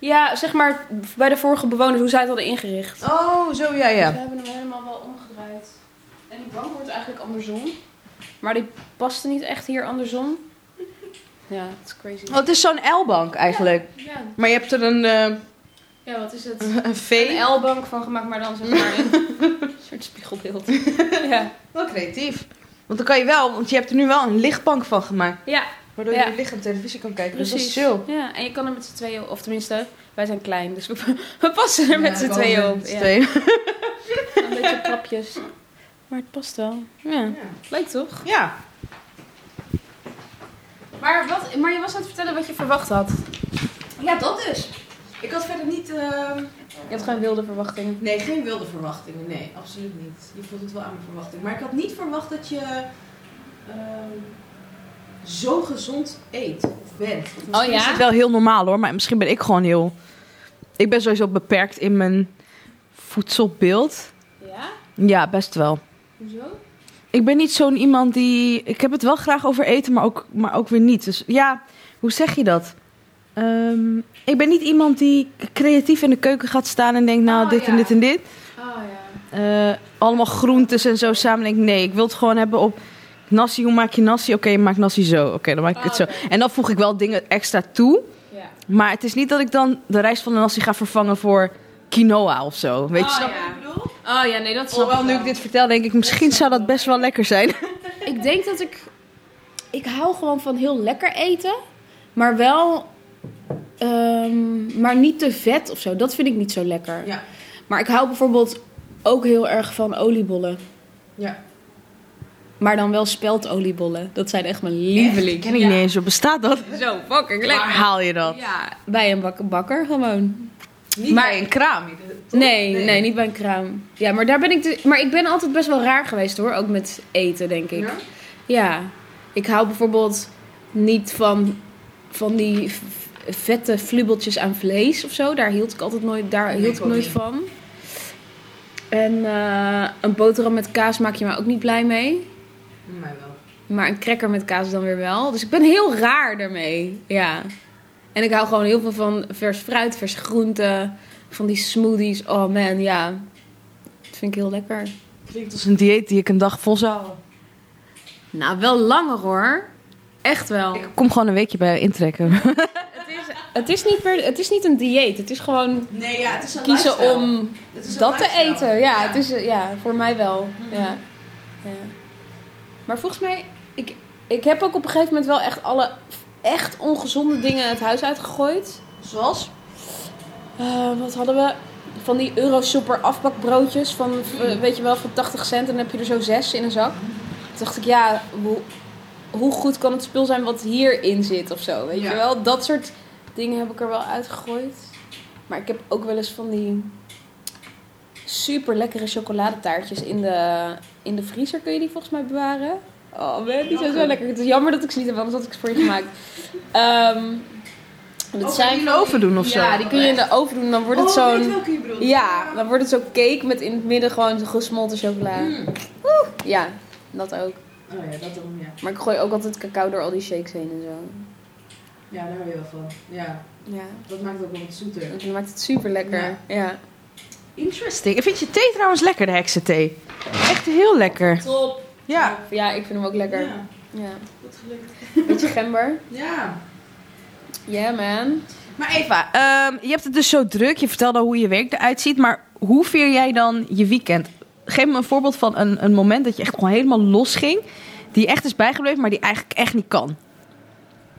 S2: Ja, zeg maar bij de vorige bewoners, hoe zij het hadden ingericht.
S1: Oh, zo, ja, ja.
S2: Dus we hebben hem helemaal wel omgedraaid. En die bank wordt eigenlijk andersom. Maar die paste niet echt hier andersom. Ja, het is crazy.
S1: Oh, het is zo'n L-bank eigenlijk.
S2: Ja.
S1: Maar je hebt er een, eh,
S2: ja, wat is het?
S1: een
S2: Een
S1: V.
S2: L-bank van gemaakt, maar dan zeg maar een soort spiegelbeeld. ja.
S1: Wel creatief. Want dan kan je wel, want je hebt er nu wel een lichtbank van gemaakt.
S2: ja,
S1: Waardoor
S2: Ja.
S1: je lichaam televisie kan kijken.
S2: precies.
S1: Dus dat is chill.
S2: Ja, en je kan er met z'n tweeën, of tenminste, wij zijn klein, dus we, we passen er met z'n tweeën op. Ja.
S1: Twee.
S2: Een beetje klapjes. Maar het past wel. Ja, leuk toch?
S1: Ja.
S2: Maar, wat, maar je was aan het vertellen wat je verwacht had.
S1: Ja, dat dus. Ik had verder niet... ehm,
S2: Je had gewoon wilde verwachtingen.
S1: Nee, geen wilde verwachtingen. Nee, absoluut niet. Je voelt het wel aan mijn verwachting. Maar ik had niet verwacht dat je ehm, zo gezond eet of bent. Of misschien
S2: Oh, ja?
S1: is het wel heel normaal hoor. Maar misschien ben ik gewoon heel... Ik ben sowieso beperkt in mijn voedselbeeld.
S2: Ja?
S1: Ja, best wel.
S2: Hoezo?
S1: Ik ben niet zo'n iemand die. Ik heb het wel graag over eten, maar ook, maar ook weer niet. Dus ja, hoe zeg je dat? Ehm, ik ben niet iemand die creatief in de keuken gaat staan en denkt: nou,
S2: Oh,
S1: dit en
S2: ja.
S1: dit en dit.
S2: Oh ja.
S1: Eh, allemaal groentes en zo samen. Ik Denk, nee, ik wil het gewoon hebben op. Nasi, hoe maak je nasi? Oké, je maakt nasi zo. Oké, dan maak ik
S2: Ah,
S1: het zo.
S2: oké.
S1: En dan voeg ik wel dingen extra toe.
S2: Ja.
S1: Maar het is niet dat ik dan de rijst van de nasi ga vervangen voor quinoa of zo. Weet je?
S2: Oh,
S1: snap je
S2: ja.
S1: wat ik bedoel?
S2: Oh ja, nee, dat snap
S1: Hoewel,
S2: ik
S1: nu
S2: wel.
S1: ik dit vertel, denk ik, misschien zou dat best wel lekker zijn.
S2: Ik denk dat ik... Ik hou gewoon van heel lekker eten. Maar wel... ehm, maar niet te vet of zo. Dat vind ik niet zo lekker.
S1: Ja.
S2: Maar ik hou bijvoorbeeld ook heel erg van oliebollen.
S1: Ja.
S2: Maar dan wel speldoliebollen. Dat zijn echt mijn
S1: Lieveling. Ken ik niet eens. Hoe bestaat dat?
S2: Zo fucking
S1: Waar haal je dat?
S2: Ja, bij een bak- bakker gewoon.
S5: Niet
S2: Maar-
S5: bij een kraam.
S2: Nee, nee, niet bij een kraam. Ja, maar daar ben ik. dus- maar ik ben altijd best wel raar geweest hoor. Ook met eten, denk ik.
S5: Ja?
S2: Ja. Ik hou bijvoorbeeld niet van, van die v- vette flubbeltjes aan vlees of zo. Daar hield ik altijd nooit, daar
S5: Nee,
S2: hield
S5: ik
S2: ik
S5: ook
S2: nooit
S5: niet.
S2: van. En eh, een boterham met kaas maak je me ook niet blij mee.
S5: Mij wel.
S2: Maar een cracker met kaas dan weer wel. Dus ik ben heel raar daarmee. Ja. En ik hou gewoon heel veel van vers fruit, vers groente. Van die smoothies. Oh man, ja. Dat vind ik heel lekker.
S1: Klinkt als een dieet die ik een dag vol zou houden.
S2: Nou, wel langer hoor. Echt wel.
S1: Ik kom gewoon een weekje bij intrekken.
S2: Het is niet, per, het is niet een dieet. Het is gewoon
S5: Nee, ja, het is een
S2: kiezen om
S5: Het is een
S2: dat te
S5: lifestyle. Mhm.
S2: eten. Ja, het is, eh, ja voor mij wel. Ja. Ja. Maar volgens mij, ik, ik heb ook op een gegeven moment wel echt alle echt ongezonde dingen het huis uitgegooid.
S5: Zoals?
S2: Eh, wat hadden we? Van die Eurosuper afbakbroodjes van,
S5: Mhm.
S2: eh, weet je wel, van 80 cent. En dan heb je er zo zes in een zak. Toen dacht ik, ja, hoe, hoe goed kan het spul zijn wat hierin zit of zo? Weet
S5: Ja.
S2: je wel? Dat soort dingen heb ik er wel uitgegooid. Maar ik heb ook wel eens van die super lekkere chocoladetaartjes in de, in de vriezer. Kun je die volgens mij bewaren? Oh man, die zijn zo lekker. Het is jammer dat ik ze niet heb, anders had ik ze voor je gemaakt. Ehm dat
S5: Ook
S2: zijn
S5: in
S1: de oven doen of
S2: Oh, ja,
S1: zo?
S2: die kun je in de oven doen. Dan wordt het
S5: oh, ik weet
S2: zo'n...
S5: welke je bedoelt.
S2: Ja, dan wordt het zo'n cake met in het midden gewoon gesmolten chocola.
S5: Mm.
S2: Ja, dat ook.
S5: Oh ja, dat dan, ja.
S2: Maar ik gooi ook altijd cacao door al die shakes heen en zo.
S5: Ja, daar hou je wel van. Ja,
S2: Ja,
S5: dat maakt het ook wel wat zoeter.
S2: dat maakt het super lekker.
S5: Ja.
S2: Ja.
S1: Interesting. Ik vind je thee trouwens lekker, de heksenthee. Echt heel lekker.
S2: Top.
S1: Ja.
S2: Ja, ik vind hem ook lekker. Ah. Ja.
S5: Ja, goed gelukt.
S2: Beetje gember.
S5: Ja.
S2: Yeah man.
S1: Maar Eva, ehm, je hebt het dus zo druk. Je vertelde hoe je werk eruit ziet. Maar hoe vier jij dan je weekend? Geef me een voorbeeld van een, een moment dat je echt gewoon helemaal los ging. Die echt is bijgebleven, maar die eigenlijk echt niet kan.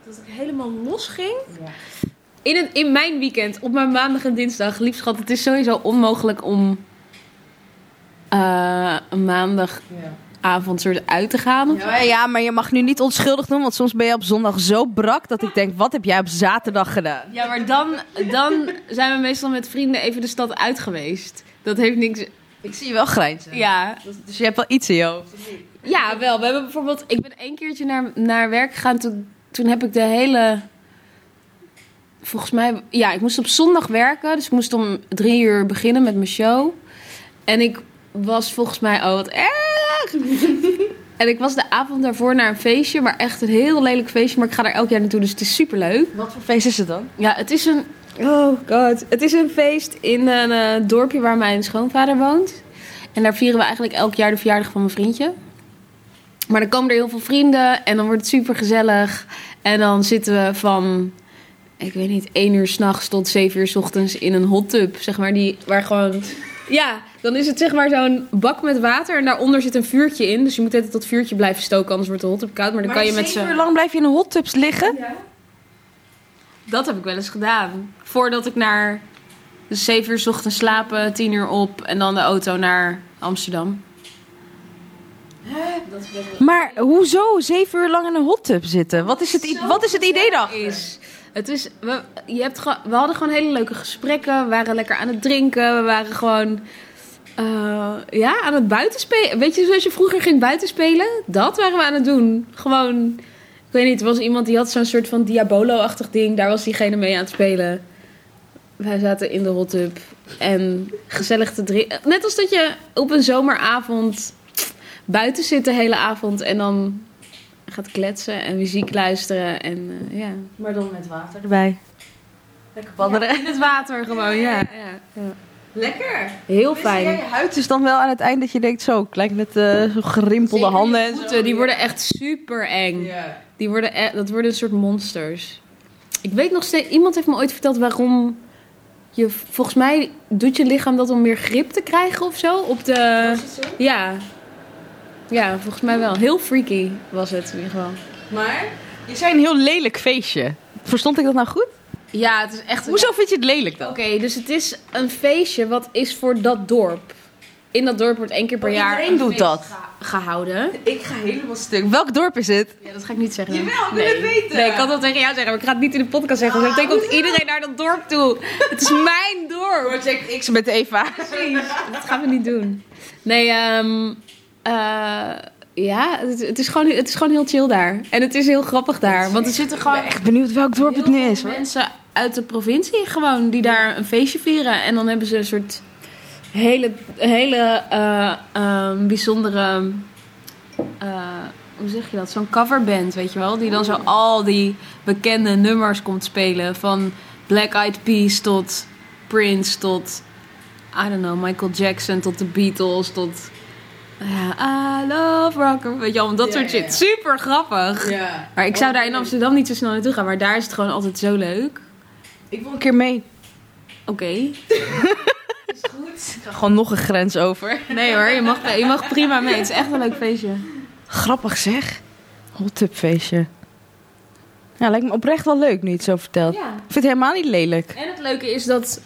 S2: Dat ik helemaal los ging.
S5: Ja.
S2: In, het, in mijn weekend, op mijn maandag en dinsdag, lief schat, het is sowieso onmogelijk om eh, een maandagavond
S5: ja.
S2: soort uit te gaan.
S1: Ja, ja, maar je mag nu niet onschuldig doen. Want soms ben je op zondag zo brak dat ik denk, wat heb jij op zaterdag gedaan?
S2: Ja, maar dan, dan zijn we meestal met vrienden even de stad uit geweest. Dat heeft niks.
S1: Ik zie je wel grijnzen.
S2: Ja,
S1: Dus je hebt wel iets in je hoofd.
S2: ja wel. We hebben bijvoorbeeld. Ik ben één keertje naar, naar werk gegaan. Toen, toen heb ik de hele. Volgens mij. Ja, ik moest op zondag werken. Dus ik moest om drie uur beginnen met mijn show. En ik was volgens mij. Oh, wat erg! en ik was de avond daarvoor naar een feestje. Maar echt een heel lelijk feestje. Maar ik ga daar elk jaar naartoe. Dus het is super leuk.
S1: Wat voor feest is het dan?
S2: Ja, het is een. Oh god. Het is een feest in een eh, dorpje waar mijn schoonvader woont. En daar vieren we eigenlijk elk jaar de verjaardag van mijn vriendje. Maar dan komen er heel veel vrienden en dan wordt het super gezellig. En dan zitten we van, ik weet niet, 1 uur s'nachts tot 7 uur 's ochtends in een hot tub. Zeg maar, die, waar gewoon. Ja, dan is het zeg maar zo'n bak met water en daaronder zit een vuurtje in. Dus je moet altijd dat vuurtje blijven stoken, anders wordt de hot tub koud. Maar dan kan je met z'n.
S1: Hoe lang blijf je in een hot tubs liggen?
S2: Dat heb ik wel eens gedaan. Voordat ik naar de 7 uur 's ochtends slapen, 10 uur op en dan de auto naar Amsterdam.
S1: Maar hoezo zeven uur lang in een hot tub zitten? Wat is het, i- wat is het idee dan?
S2: Is. Het is, we, je hebt gewoon- we hadden gewoon hele leuke gesprekken. We waren lekker aan het drinken. We waren gewoon eh, ja, aan het buitenspelen. Weet je, zoals je vroeger ging buitenspelen? Dat waren we aan het doen. Gewoon, ik weet niet, er was iemand die had zo'n soort van Diabolo-achtig ding. Daar was diegene mee aan het spelen. Wij zaten in de hot tub en gezellig te drinken. Net als dat je op een zomeravond buiten zit de hele avond en dan gaat kletsen en muziek luisteren en eh, ja.
S5: Maar dan met water.
S1: Erbij. Lekker badderen.
S2: In het water gewoon, ja. ja, ja.
S5: Lekker!
S2: Heel
S1: Ja,
S2: fijn.
S1: je huid is dan wel aan het eind dat je denkt zo, lijkt met eh zo gerimpelde handen. en zo.
S2: Voeten, die worden echt super eng.
S5: Ja.
S2: Die worden e- dat worden een soort monsters. Ik weet nog steeds, iemand heeft me ooit verteld waarom je, volgens mij doet je lichaam dat om meer grip te krijgen of zo. Op de, ja. Ja, volgens mij wel. Heel freaky was het in ieder geval.
S5: Maar?
S1: Je zei een heel lelijk feestje. Verstond ik dat nou goed?
S2: Ja, het is echt...
S1: Hoezo vind je het lelijk dan?
S2: Oké, dus het is een feestje wat is voor dat dorp. in dat dorp wordt één keer per
S1: Oh,
S2: jaar
S1: iedereen
S2: een
S1: doet
S2: feest
S1: dat.
S2: geha- gehouden.
S1: Ik ga helemaal stuk. Welk dorp is het?
S2: Ja, dat ga ik niet zeggen.
S1: Jawel, ik wil
S2: nee.
S1: het weten. Ah,
S2: Nee, ik kan dat tegen jou zeggen, maar ik ga het niet in de podcast zeggen. want dat betekent dat iedereen naar dat dorp toe. Het is mijn dorp.
S1: Project X met Eva.
S2: Dat gaan we niet doen. Nee, ehm eh, ja, het, het, is gewoon, het is gewoon heel chill daar. En het is heel grappig daar. Want er zitten gewoon
S1: Echt benieuwd welk dorp het nu is.
S2: veel mensen uit de provincie gewoon die daar een feestje vieren. En dan hebben ze een soort hele, hele eh, ehm, bijzondere. eh, hoe zeg je dat? Zo'n coverband, weet je wel? Die dan zo al die bekende nummers komt spelen. Van Black Eyed Peas tot Prince tot. I don't know, Michael Jackson tot de Beatles tot. ja, I love rock. Weet je wel, dat
S5: Ja,
S2: soort
S5: ja,
S2: shit. Super grappig.
S5: Ja.
S2: Maar ik zou daar in Amsterdam niet zo snel naartoe gaan, maar daar is het gewoon altijd zo leuk.
S1: Ik wil een keer mee.
S2: Oké.
S1: Ik ga gewoon nog een grens over.
S2: Nee hoor, je mag, je mag prima mee. Het is echt een leuk feestje.
S1: Grappig zeg. Hot tub feestje. Ja, lijkt me oprecht wel leuk nu je het zo vertelt.
S2: Ja.
S1: Ik vind het helemaal niet lelijk.
S2: En het leuke is dat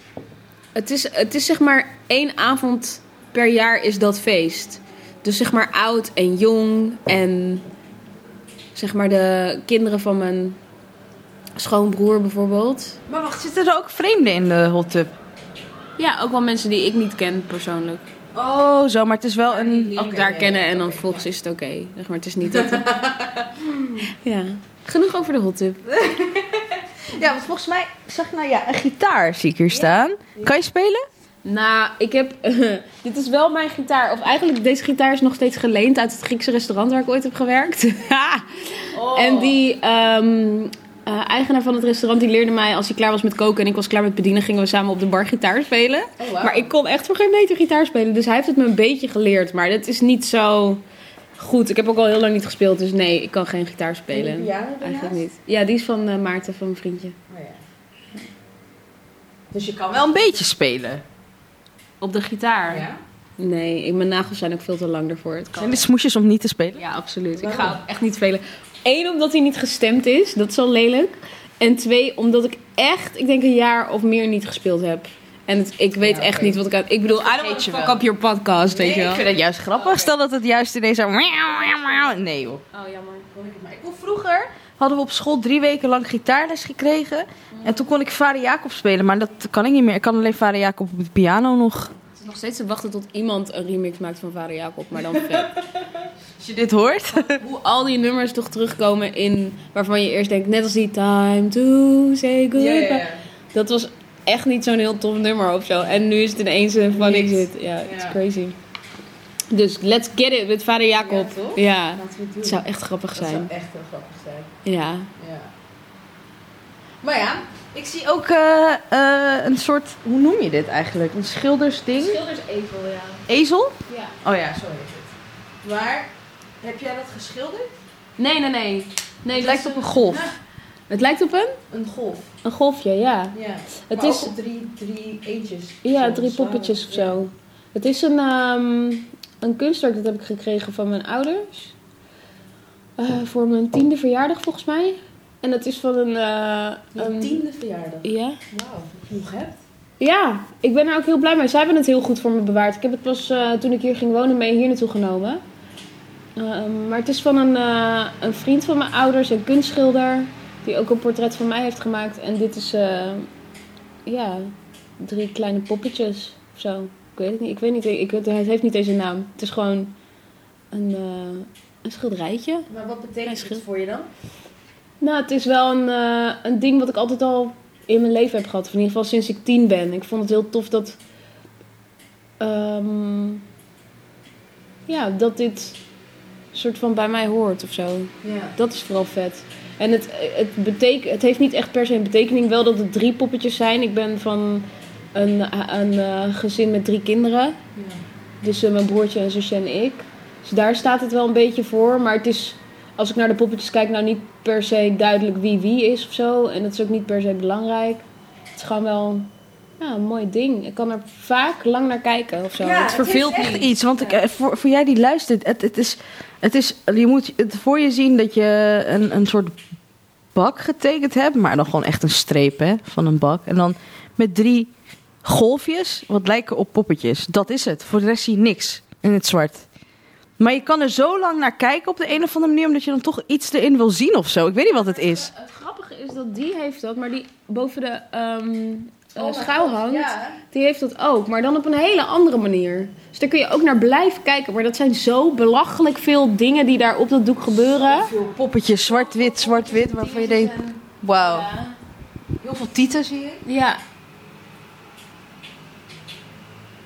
S2: het is, het is zeg maar één avond per jaar is dat feest. Dus zeg maar oud en jong en zeg maar de kinderen van mijn schoonbroer bijvoorbeeld.
S1: Maar wacht, zitten er ook vreemden in de hot tub?
S2: Ja, ook wel mensen die ik niet ken persoonlijk.
S1: Oh, zo, maar het is wel een...
S2: Ook daar kennen en dan volgens is het oké. Zeg maar, het is niet dat... ja. Genoeg over de hot tub.
S1: Ja, want volgens mij zag ik nou ja, een gitaar zie ik hier staan. Kan je spelen?
S2: Nou, ik heb. dit is wel mijn gitaar. Of eigenlijk, deze gitaar is nog steeds geleend uit het Griekse restaurant waar ik ooit heb gewerkt. En die ehm, eh, eigenaar van het restaurant die leerde mij als hij klaar was met koken en ik was klaar met bedienen, gingen we samen op de bar gitaar spelen.
S5: Oh, wauw.
S2: Maar ik kon echt voor geen meter gitaar spelen. Dus hij heeft het me een beetje geleerd. Maar dat is niet zo goed. Ik heb ook al heel lang niet gespeeld. Dus nee, ik kan geen gitaar
S5: En
S2: spelen.
S5: die piano
S2: Eigenlijk
S5: daarnaast?
S2: niet. Ja, die is van eh, Maarten, van mijn vriendje.
S5: Oh, ja. Dus je kan
S1: Wel een beetje spelen.
S2: Op de gitaar?
S5: Ja?
S2: Nee, ik, mijn nagels zijn ook veel te lang daarvoor. Het kan
S1: Zijn dit smoesjes om niet te spelen?
S2: Ja, absoluut. Ik
S5: Waarom?
S2: ga ook echt niet spelen. Eén, omdat hij niet gestemd is. Dat is al lelijk. En twee, omdat ik echt, ik denk een jaar of meer niet gespeeld heb. En het- ik weet
S5: Ja,
S2: echt
S5: oké.
S2: niet wat ik aan... Ik bedoel, I don't
S1: Vergeet
S2: want
S1: je
S2: to fuck
S1: wel.
S2: up your podcast, weet je
S1: ik
S2: wel.
S1: vind het juist grappig. Stel dat het juist in deze... Nee joh.
S2: Oh, jammer.
S1: Ik wil vroeger hadden we op school drie weken lang gitaarles gekregen. En toen kon ik Vader Jacob spelen, maar dat kan ik niet meer. Ik kan alleen Vader Jacob op de piano nog.
S2: Het is nog steeds te wachten tot iemand een remix maakt van Vader Jacob. Maar dan vet.
S1: Als je dit hoort.
S2: Hoe al die nummers toch terugkomen in... Waarvan je eerst denkt, net als die Time to Say Goodbye.
S5: Ja, ja, ja.
S2: Dat was echt niet zo'n heel tof nummer of zo. En nu is het ineens een van ik
S5: Niks.
S2: zit. Ja, it's
S5: Ja.
S2: crazy. Dus let's get it met vader Jacob.
S5: Ja, toch?
S2: Ja.
S5: Laten we het doen.
S2: Het zou echt grappig
S5: Dat zou
S2: zijn.
S5: echt heel grappig zijn.
S2: Ja.
S5: Ja. Maar ja,
S1: Ik zie ook eh, eh, een soort, hoe noem je dit eigenlijk? Een schildersding?
S2: Schilders Evel, ja.
S1: Ezel?
S2: ja.
S1: Oh ja.
S5: zo is het. Maar heb jij dat geschilderd?
S2: Nee, nee, nee. nee
S1: Het lijkt op een golf.
S2: het lijkt op een?
S5: Een golf.
S2: Een golfje, ja.
S5: Ja.
S2: Het
S5: maar
S2: is,
S5: ook op drie, drie eentjes.
S2: ja,
S5: Zo,
S2: drie
S5: zwaar.
S2: poppetjes of
S5: Ja.
S2: zo. Het is een, ehm, een kunstwerk, dat heb ik gekregen van mijn ouders. Eh, voor mijn tiende verjaardag, volgens mij. En dat is van een... eh,
S5: Je
S2: een
S5: tiende verjaardag.
S2: Ja.
S5: Wauw, dat je nog hebt.
S2: Ja, ik ben er ook heel blij mee. Zij hebben het heel goed voor me bewaard. Ik heb het pas eh, toen ik hier ging wonen mee hier naartoe genomen. Ehm, maar het is van een, eh, een vriend van mijn ouders, een kunstschilder. Die ook een portret van mij heeft gemaakt. En dit is, eh, ja, drie kleine poppetjes of zo. Ik weet het niet. Ik weet niet. Ik, het het heeft niet eens een naam. Het is gewoon een, eh, een schilderijtje.
S5: Maar wat
S2: Hij
S5: betekent
S2: schild-
S5: het voor je dan?
S2: Nou, het is wel een, eh, een ding wat ik altijd al in mijn leven heb gehad. Of in ieder geval sinds ik tien ben. Ik vond het heel tof dat. ehm, ja, dat dit soort van bij mij hoort of zo.
S5: Ja.
S2: Dat is vooral vet. En het, het, betek, het heeft niet echt per se een betekening. Wel dat het drie poppetjes zijn. Ik ben van een, een eh, gezin met drie kinderen. Dus eh, mijn broertje en zusje en ik. Dus daar staat het wel een beetje voor. Maar het is, als ik naar de poppetjes kijk, nou niet per se duidelijk wie wie is of zo. En dat is ook niet per se belangrijk. Het is gewoon wel ja, een mooi ding. Ik kan er vaak lang naar kijken of zo.
S5: Ja,
S2: het verveelt
S1: Ah, echt
S2: niet.
S1: iets. Want ik, eh, voor, voor jij die luistert, het, het is, het is, je moet het voor je zien dat je een, een soort bak getekend hebt. Maar dan gewoon echt een streep hè, van een bak. En dan met drie golfjes wat lijken op poppetjes. Dat is het. Voor de rest zie je niks in het zwart. Maar je kan er zo lang naar kijken op de een of andere manier, omdat je dan toch iets erin wil zien of zo. Ik weet niet wat het is.
S2: Het grappige is dat die heeft dat, maar die boven de ehm,
S4: Oh
S2: eh, schouw hangt, die heeft dat ook. Maar dan op een hele andere manier. Dus daar kun je ook naar blijven kijken. Maar dat zijn zo belachelijk veel dingen die daar op dat doek gebeuren.
S1: Veel poppetjes, zwart-wit, zwart-wit, waarvan je denkt, wauw. Heel veel tieten zie je.
S2: Ja.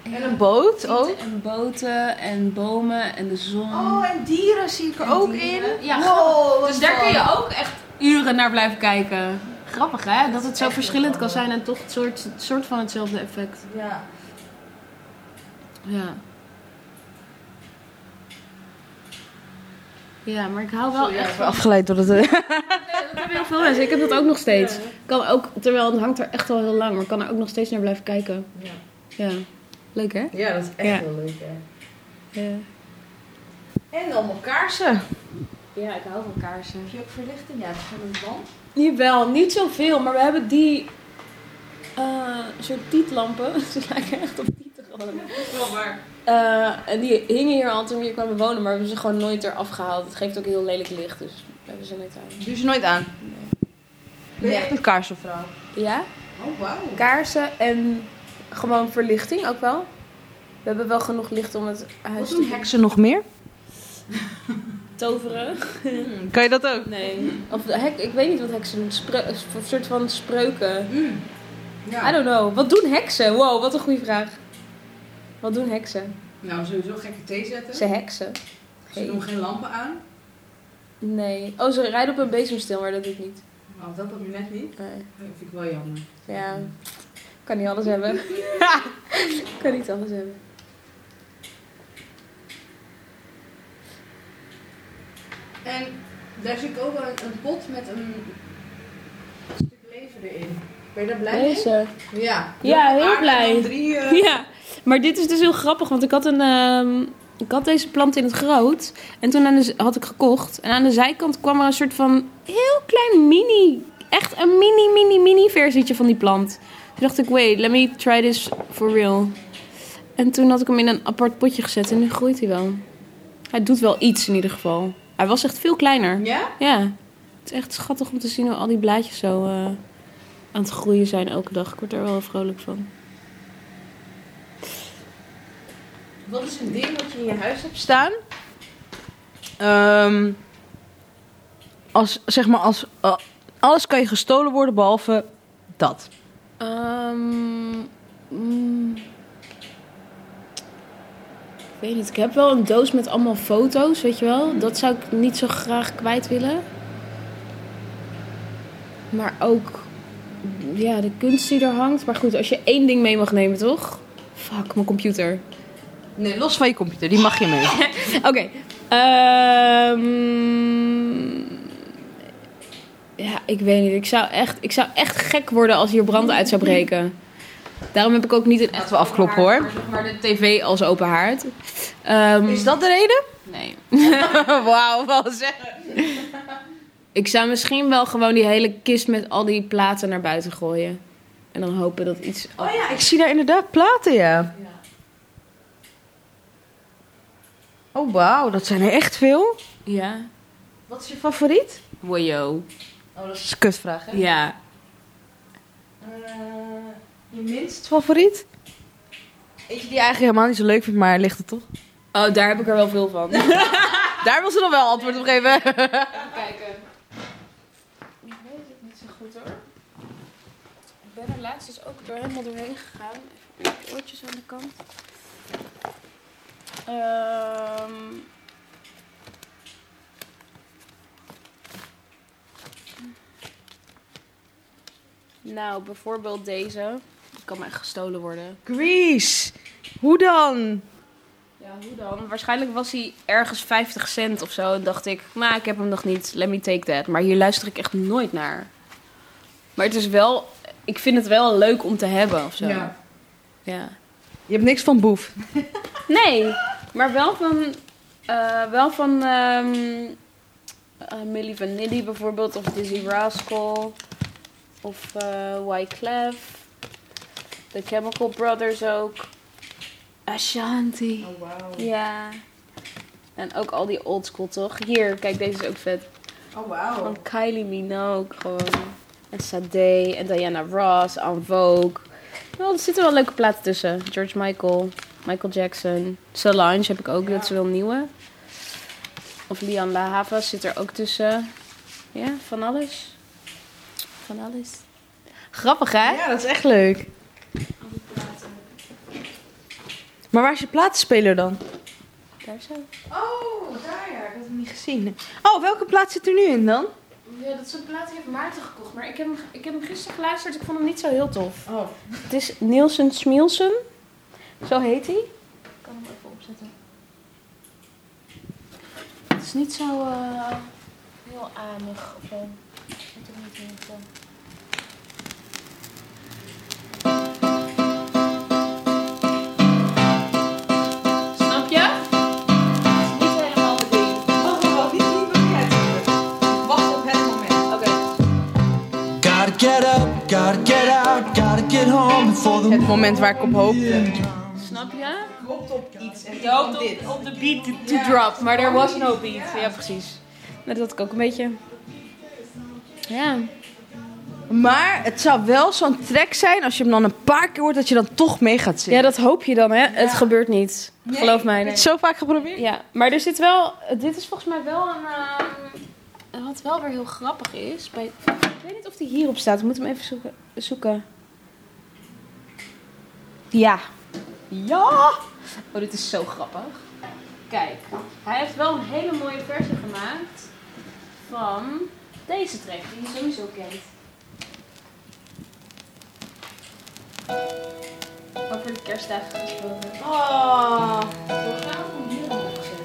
S1: En een boot ook.
S2: En boten en bomen en de zon.
S5: Oh, en dieren zie ik er ook in.
S2: Ja,
S5: Wow, wat
S2: Dus daar
S5: dan?
S2: kun je ook echt uren naar blijven kijken. Grappig hè, dat het zo verschillend kan zijn en toch het soort, het soort van hetzelfde effect.
S5: Ja.
S2: Ja. Ja, maar ik hou wel echt van...
S1: Afgeleid door het...
S2: Dat hebben heel veel mensen. Ik heb dat ook nog steeds. Kan ook, terwijl het hangt er echt al heel lang, maar ik kan er ook nog steeds naar blijven kijken.
S5: Ja.
S2: Ja. Leuk hè?
S5: Ja, dat is echt
S2: Ja.
S5: heel leuk, hè.
S2: Ja.
S5: En allemaal kaarsen.
S2: Ja, ik hou van kaarsen.
S5: Heb je ook verlichting? Ja, dat is een band.
S2: Jawel, niet zoveel, maar we hebben die eh, soort tietlampen. Ze lijken echt op tieten gewoon. Eh, en die hingen hier al toen we hier kwamen wonen, maar we hebben ze gewoon nooit eraf gehaald. Het geeft ook heel lelijk licht, dus we hebben ze nooit aan.
S1: Doe ze nooit aan. Ben je echt een kaarsenvrouw?
S2: Ja,
S5: Oh, wauw.
S2: kaarsen en gewoon verlichting ook wel. We hebben wel genoeg licht om het huis
S1: Wat
S2: te
S1: doen heksen nog meer?
S2: toveren.
S5: Hmm.
S1: Kan je dat ook?
S2: Nee. Of de hek, ik weet niet wat heksen doen. Spreu- een soort van spreuken. I
S5: Hmm. Ja.
S2: don't know. Wat doen heksen? Wow, wat een goede vraag. Wat doen heksen?
S5: Nou, sowieso gekke thee zetten.
S2: Ze heksen.
S5: Ze doen geen lampen aan.
S2: Nee. Oh, ze rijden op een bezemstil, maar dat doet niet.
S5: Nou, dat heb je net niet.
S2: Nee.
S5: Dat vind ik wel jammer.
S2: Ja, kan niet alles hebben. kan niet alles hebben.
S5: En daar zie ik ook een, een pot met een stuk leven erin. Ben je daar blij mee?
S2: Deze.
S5: Ja.
S2: Ja, heel
S5: Aardappel,
S2: blij.
S5: Drie, eh,
S2: Ja, maar dit is dus heel grappig, want ik had een... ehm, ik had deze plant in het groot en toen aan de z- had ik gekocht. En aan de zijkant kwam er een soort van heel klein mini, echt een mini, mini, mini versietje van die plant. Toen dacht ik, wait, let me try this for real. En toen had ik hem in een apart potje gezet en nu groeit hij wel. Hij doet wel iets in ieder geval. Hij was echt veel kleiner.
S5: Ja?
S2: Ja, het is echt schattig om te zien hoe al die blaadjes zo eh, aan het groeien zijn elke dag. Ik word er wel vrolijk van.
S5: Wat is een ding wat je in je huis hebt?
S1: staan. Ehm, als, zeg maar, als, eh, alles kan je gestolen worden behalve dat.
S2: Ehm, mm. ik weet niet. Ik heb wel een doos met allemaal foto's, weet je wel. Dat zou ik niet zo graag kwijt willen. Maar ook ja, de kunst die er hangt. Maar goed, als je één ding mee mag nemen, toch? Fuck, mijn computer.
S1: Nee, los van je computer, die mag je mee.
S2: Oké. ehm, ja, ik weet niet. Ik zou, echt, ik zou echt gek worden als hier brand uit zou breken. Daarom heb ik ook niet een echt
S1: we afkloppen,
S2: open
S1: hoor.
S2: haard, Maar zeg maar de tv als open haard. Ehm,
S1: Is dat de reden?
S2: Nee.
S1: Wauw, wel zeg.
S2: Ik zou misschien wel gewoon die hele kist met al die platen naar buiten gooien. En dan hopen dat iets...
S1: Oh ja, ik zie daar inderdaad platen, ja. Oh wauw, dat zijn er echt veel.
S2: Ja?
S1: Wat is je favoriet?
S2: Wojo.
S1: Oh, dat is een kutvraag, hè?
S2: Ja.
S4: Eh,
S1: je minst favoriet? Eentje die je eigenlijk helemaal niet zo leuk vindt, maar ligt er toch?
S2: Oh, daar heb ik er wel veel van.
S1: Daar wil ze dan wel antwoord op geven.
S2: kijken. Ik weet het niet zo goed hoor. Ik ben er laatst dus ook door helemaal doorheen gegaan. Even mijn oortjes aan de kant. Ehm. Nou, bijvoorbeeld deze. Die kan me echt gestolen worden.
S1: Grease. Hoe dan?
S2: Ja, hoe dan? Waarschijnlijk was hij ergens 50 cent of zo. En dacht ik, nou, ik heb hem nog niet. Let me take that. Maar hier luister ik echt nooit naar. Maar het is wel... Ik vind het wel leuk om te hebben of zo.
S5: Ja.
S2: Ja.
S1: Je hebt niks van boef.
S2: Nee, maar wel van... eh, wel van... ehm, eh, Milli Vanilli bijvoorbeeld. Of Dizzy Rascal. Of eh Wyclef. The Chemical Brothers ook. Ashanti.
S5: Oh, wauw.
S2: Ja. En ook al die oldschool toch? Hier, kijk, deze is ook vet.
S5: Oh, wauw.
S2: Van Kylie Minogue gewoon. En Sade en Diana Ross, En Vogue. Nou, er zitten wel leuke platen tussen. George Michael, Michael Jackson. Solange heb ik ook, dat is wel een nieuwe. Of Lian La Hava zit er ook tussen. Ja, van alles. Van alles. Grappig, hè?
S1: Ja, dat is echt leuk. Maar waar is je platenspeler dan?
S2: Daar zo.
S1: Oh, daar ja. Ik had hem niet gezien. Oh, welke plaat zit er nu in dan?
S2: Ja, dat is een plaat die heeft Maarten gekocht. Maar ik heb, hem, ik heb hem gisteren geluisterd. Ik vond hem niet zo heel tof.
S5: Oh.
S2: Het is Nielsen Smielsen. Zo heet hij. Ik kan hem even opzetten. Het is niet zo eh, heel anig of zo. Ik weet ook niet hoe het, eh. Snap je? Het is niet helemaal mijn ding.
S5: Wacht, wacht, niet niet meer uitzoeken. Wacht op het moment.
S2: Oké.
S6: Gotta get up, gotta get out, gotta get home before the
S1: Het moment waar ik op hoop.
S2: Snap je?
S5: Klopt op iets. En
S2: Je hoopt
S5: dan dit.
S2: op, op de beat to, to drop, maar er was no beat. Ja, precies. Nou, dat had ik ook een beetje. Ja.
S1: Maar het zou wel zo'n track zijn als je hem dan een paar keer hoort dat je dan toch mee gaat
S2: ja,
S1: zingen.
S2: dat hoop je dan, hè? Het gebeurt niet. Geloof mij.
S1: Heb je het zo vaak geprobeerd?
S2: Ja, maar er zit wel. Dit is volgens mij wel een. ehm, wat wel weer heel grappig is. Bij, ik weet niet of die hierop staat. Ik moet hem even zoeken. zoeken. Ja. Ja! Oh, dit is zo grappig. Kijk, hij heeft wel een hele mooie versie gemaakt van deze track, die je sowieso kent. Over de kerstdagen gesproken.
S1: Oh.
S2: We gaan hem hier opzetten.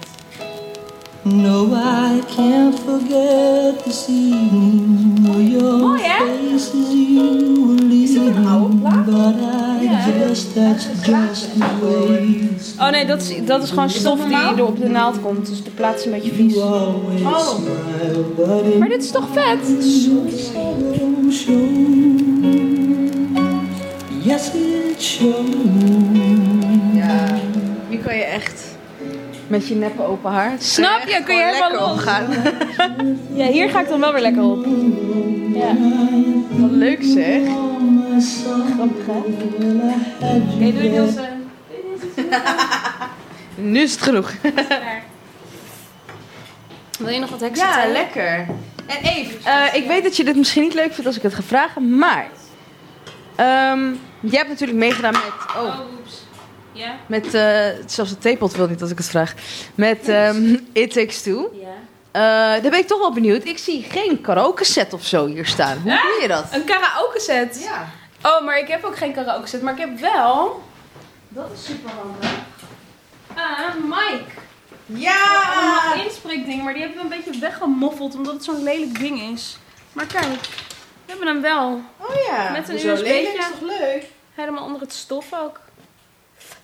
S6: No, I can't forget this evening or your
S2: Mooi, hè?
S6: faces you were leaving. But I guess that's just the way
S2: Oh nee, dat is, dat is gewoon stof die er op de naald komt. Dus de plaats is een beetje vies.
S6: you
S2: Oh.
S6: always smile, but
S2: Maar dit is toch vet?
S6: it shows. Yes, it shows.
S1: Ja. Hier kan je echt met je neppe open haar.
S2: Snap je? Kun je helemaal los.
S1: gaan.
S2: Ja, hier ga ik dan wel weer lekker op. Ja.
S1: Wat leuk zeg.
S2: Nee, doe je Nielsen.
S1: Nu is het genoeg.
S2: Wil je nog wat heksen?
S1: Ja, lekker. En Eve, eh, ik weet dat je dit misschien niet leuk vindt als ik het ga vragen, maar... ehm, jij hebt natuurlijk meegedaan met... Oh,
S2: Oh, oeps. Ja?
S1: met eh, zelfs de theepot wil niet dat ik het vraag. Met ehm, It Takes Two.
S2: Ja.
S1: Eh, daar ben ik toch wel benieuwd. Ik zie geen karaoke set of zo hier staan. Hoe doe je dat?
S2: Een karaoke set.
S1: Ja.
S2: Oh, maar ik heb ook geen karaoke set. Maar ik heb wel... Dat is super handig. Ah, Mike.
S5: Ja!
S2: Een inspreekding, maar die hebben we een beetje weggemoffeld omdat het zo'n lelijk ding is. Maar kijk, we hebben hem wel.
S5: Oh ja.
S2: Met een
S5: Hoezo
S2: USB tje.
S5: lelijk is toch leuk?
S2: Helemaal onder het stof ook.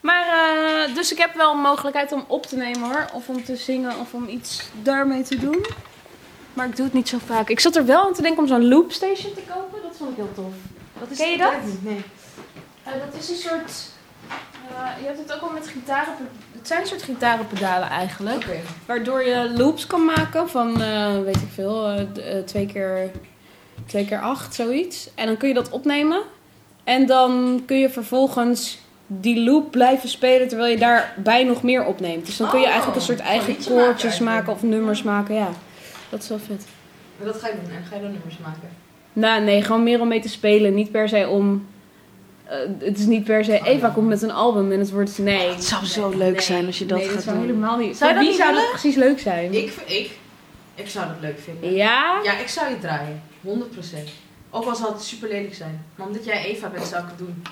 S2: Maar, eh, dus ik heb wel een mogelijkheid om op te nemen hoor. Of om te zingen of om iets daarmee te doen. Maar ik doe het niet zo vaak. Ik zat er wel aan te denken om zo'n loopstation te kopen. Dat vond ik heel tof.
S1: Wat
S2: Ken je dat?
S1: Nee.
S2: Eh, dat is een soort... eh, je hebt het ook al met gitaren... Het zijn een soort gitarenpedalen eigenlijk.
S5: Oké.
S2: Waardoor je loops kan maken van, eh, weet ik veel, eh, d- eh, twee, keer, twee keer acht, zoiets. En dan kun je dat opnemen. En dan kun je vervolgens die loop blijven spelen terwijl je daarbij nog meer opneemt. Dus dan kun je
S5: Oh,
S2: eigenlijk een soort eigen
S5: liedje maken
S2: koortjes
S5: eigenlijk.
S2: maken of nummers maken, ja. Dat is wel vet.
S5: Dat ga je doen. En ga je dan nummers maken.
S2: Nou, nee, gewoon meer om mee te spelen. Niet per se om. eh, het is niet per
S5: Oh,
S2: se. Eva komt met een album en het wordt. Nee.
S1: Het zou zo leuk zijn als je dat
S2: nee,
S1: gaat
S2: dat zou
S1: doen.
S2: helemaal niet.
S1: Zou je
S2: Voor
S1: dat
S2: wie
S1: niet
S2: zou dat precies leuk zijn?
S5: Ik, ik, ik zou dat leuk vinden.
S2: Ja?
S5: Ja, ik zou je draaien. 100%. Ook al zal het super lelijk zijn. Maar omdat jij Eva bent, zou ik het doen.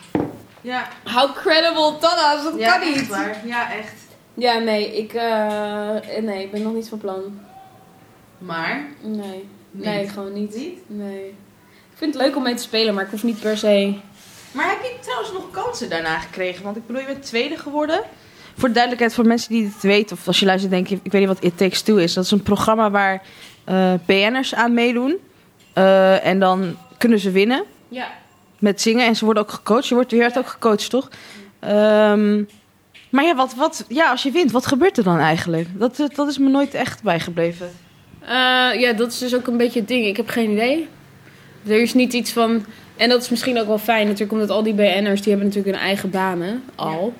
S5: Ja,
S2: How credible, Tanna's, dat
S5: ja echt waar. Ja, echt.
S2: Ja, nee, ik, eh, nee, ik ben nog niet van plan.
S5: Maar,
S2: Nee,
S5: Niet?
S2: nee, gewoon niet.
S5: niet.
S2: Nee. Ik vind het leuk om mee te spelen, maar ik hoef niet per se.
S5: Maar heb je trouwens nog kansen daarna?
S1: daarna gekregen? Want ik bedoel, je bent tweede geworden. Voor de duidelijkheid, voor mensen die dit weten, of als je luistert, denk je, ik weet niet wat It Takes Two is. Dat is een programma waar eh BN'ers aan meedoen. Eh, en dan kunnen ze winnen.
S2: Ja.
S1: met zingen. En ze worden ook gecoacht. Je wordt, je werd ook gecoacht, toch? Ehm, maar ja, wat, wat, ja, als je wint, wat gebeurt er dan eigenlijk? Dat, eh, dat dat is me nooit echt bijgebleven.
S2: Eh, ja, dat is dus ook een beetje het ding. Ik heb geen idee. Er is niet iets van. En dat is misschien ook wel fijn, natuurlijk, omdat al die BN'ers die hebben natuurlijk hun eigen banen al.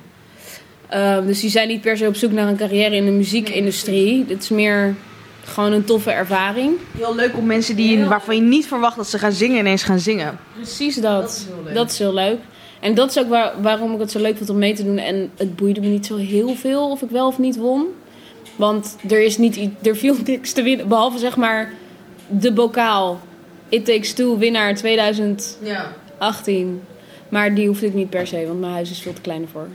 S2: Ehm, dus die zijn niet per se op zoek naar een carrière in de muziekindustrie. Het is meer gewoon een toffe ervaring.
S1: Heel leuk om mensen die, waarvan je niet verwacht dat ze gaan zingen, ineens gaan zingen.
S2: Precies dat. Dat is heel leuk. En dat is ook waar- waarom ik het zo leuk vond om mee te doen. En het boeide me niet zo heel veel of ik wel of niet won. Want er, is niet, i- er viel niks te winnen. Behalve zeg maar de bokaal. It Takes Two winnaar 2018.
S5: Ja.
S2: Maar die hoefde ik niet per se, want mijn huis is veel te klein ervoor.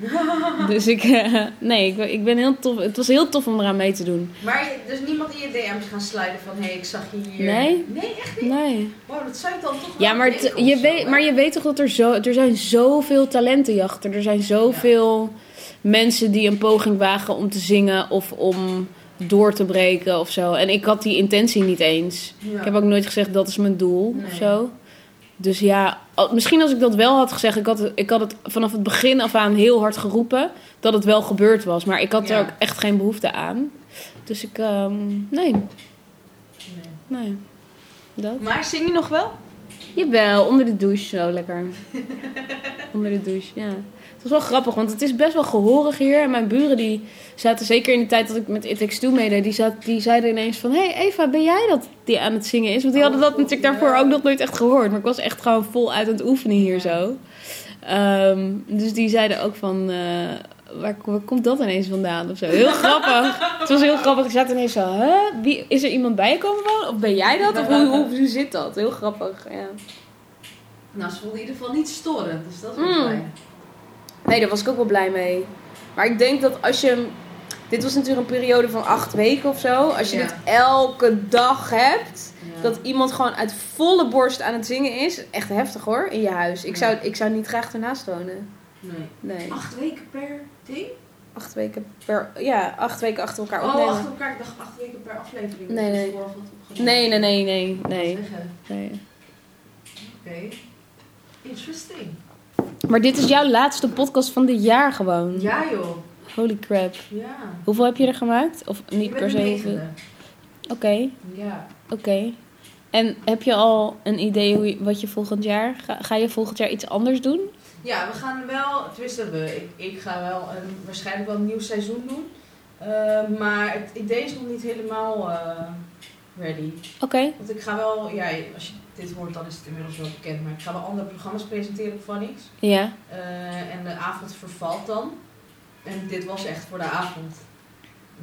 S2: dus ik, eh, nee, ik, ben- ik ben heel tof. Het was heel tof om eraan mee te doen.
S5: Maar je- dus niemand in je DM's gaan sliden van hé, hey, ik zag je hier.
S2: Nee?
S5: Nee, echt niet.
S2: Nee.
S5: Wow, dat zijn dan toch
S2: Ja,
S5: wel
S2: maar,
S5: een
S2: het-
S5: week of
S2: je
S5: zo,
S2: weet,
S5: hè?
S2: maar je weet toch dat er, zo, er zijn zoveel talentenjachten. Er zijn zoveel mensen die een poging wagen om te zingen of om door te breken of zo. En ik had die intentie niet eens.
S5: Ja.
S2: Ik heb ook nooit gezegd dat is mijn doel
S5: Nee.
S2: of zo. Dus ja, al- misschien als ik dat wel had gezegd, ik had, het, ik had het vanaf het begin af aan heel hard geroepen dat het wel gebeurd was. Maar ik had
S5: Ja.
S2: er ook echt geen behoefte aan. Dus ik, ehm, nee. Nee. Dat.
S1: Maar zing je nog wel?
S2: Jawel, onder de douche zo lekker. onder de douche, ja. Het was wel grappig, want het is best wel gehorig hier. En mijn buren die zaten, zeker in de tijd dat ik met It Takes Two meedeed, die, zaten- die zeiden ineens van... Hé hey Eva, ben jij dat die aan het zingen is? Want die hadden dat natuurlijk daarvoor ook nog nooit echt gehoord. Maar ik was echt gewoon voluit aan het oefenen hier zo. Ehm, dus die zeiden ook van... eh, waar, waar komt dat ineens vandaan of zo? Heel grappig. het was heel grappig. Ik zat ineens zo... Huh? Wie, is er iemand bij je komen wonen? Of ben jij dat? Of hoe, hoe, hoe zit dat? Heel grappig, ja.
S5: Nou, ze voelden in ieder geval niet storend, dus dat is
S2: Mm.
S5: wel fijn.
S2: Nee, daar was ik ook wel blij mee. Maar ik denk dat als je. hem- Dit was natuurlijk een periode van acht weken of zo. Als je
S5: Ja.
S2: dit elke dag hebt.
S5: Ja.
S2: Dat iemand gewoon uit volle borst aan het zingen is. Echt heftig hoor, in je huis. Ik, zou, ik zou niet graag ernaast wonen.
S5: Nee.
S2: Nee.
S5: Acht weken per ding?
S2: Acht weken per. Ja, acht weken achter elkaar
S5: Oh,
S2: opnemen.
S5: achter elkaar. Ik dacht acht weken per aflevering.
S2: Nee,
S5: Dus
S2: nee.
S5: vooraf had opgenomen.
S2: Nee, nee, nee, nee, nee,
S5: Zeggen.
S2: nee.
S5: Oké. Interesting.
S2: Maar dit is jouw laatste podcast van dit jaar gewoon.
S5: Ja, joh.
S2: Holy crap.
S5: Ja.
S2: Hoeveel heb je er gemaakt? Of
S5: Ik
S2: niet
S5: ben
S2: per
S5: de
S2: se? hoeveel? Oké.
S5: negende. Ja.
S2: Oké. En heb je al een idee hoe je- wat je volgend jaar... Ga, ga je volgend jaar iets anders doen?
S5: Ja, we gaan wel, tenminste we, ik, ik ga wel een, waarschijnlijk wel een nieuw seizoen doen. Eh, maar het idee is nog niet helemaal eh, ready.
S2: Oké.
S5: Want ik ga wel, ja, als je dit hoort dan is het inmiddels wel bekend, maar ik ga wel andere programma's presenteren op Vanix.
S2: Ja.
S5: Eh, en de avond vervalt dan. En dit was echt voor de avond,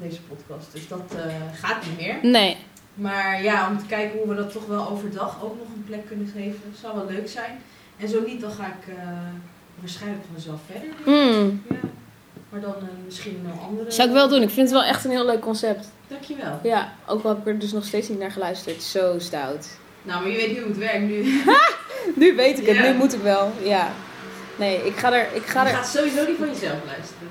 S5: deze podcast. Dus dat eh, gaat niet meer.
S2: Nee.
S5: Maar ja, om te kijken hoe we dat toch wel overdag ook nog een plek kunnen geven. Zou wel leuk zijn. En zo niet, dan ga ik eh, waarschijnlijk voor mezelf verder.
S2: Hmm.
S5: Ja. Maar dan eh, misschien een andere.
S2: Zou ik wel doen. Ik vind het wel echt een heel leuk concept.
S5: Dankjewel.
S2: Ja. Ook al heb ik er dus nog steeds niet naar geluisterd. Zo stout.
S5: Nou, maar je weet niet hoe het werkt nu.
S2: Nu weet ik het.
S5: Ja.
S2: Nu moet ik wel. Ja. Nee, ik ga er... Ik ga
S5: je
S2: er
S5: gaat sowieso niet van jezelf luisteren.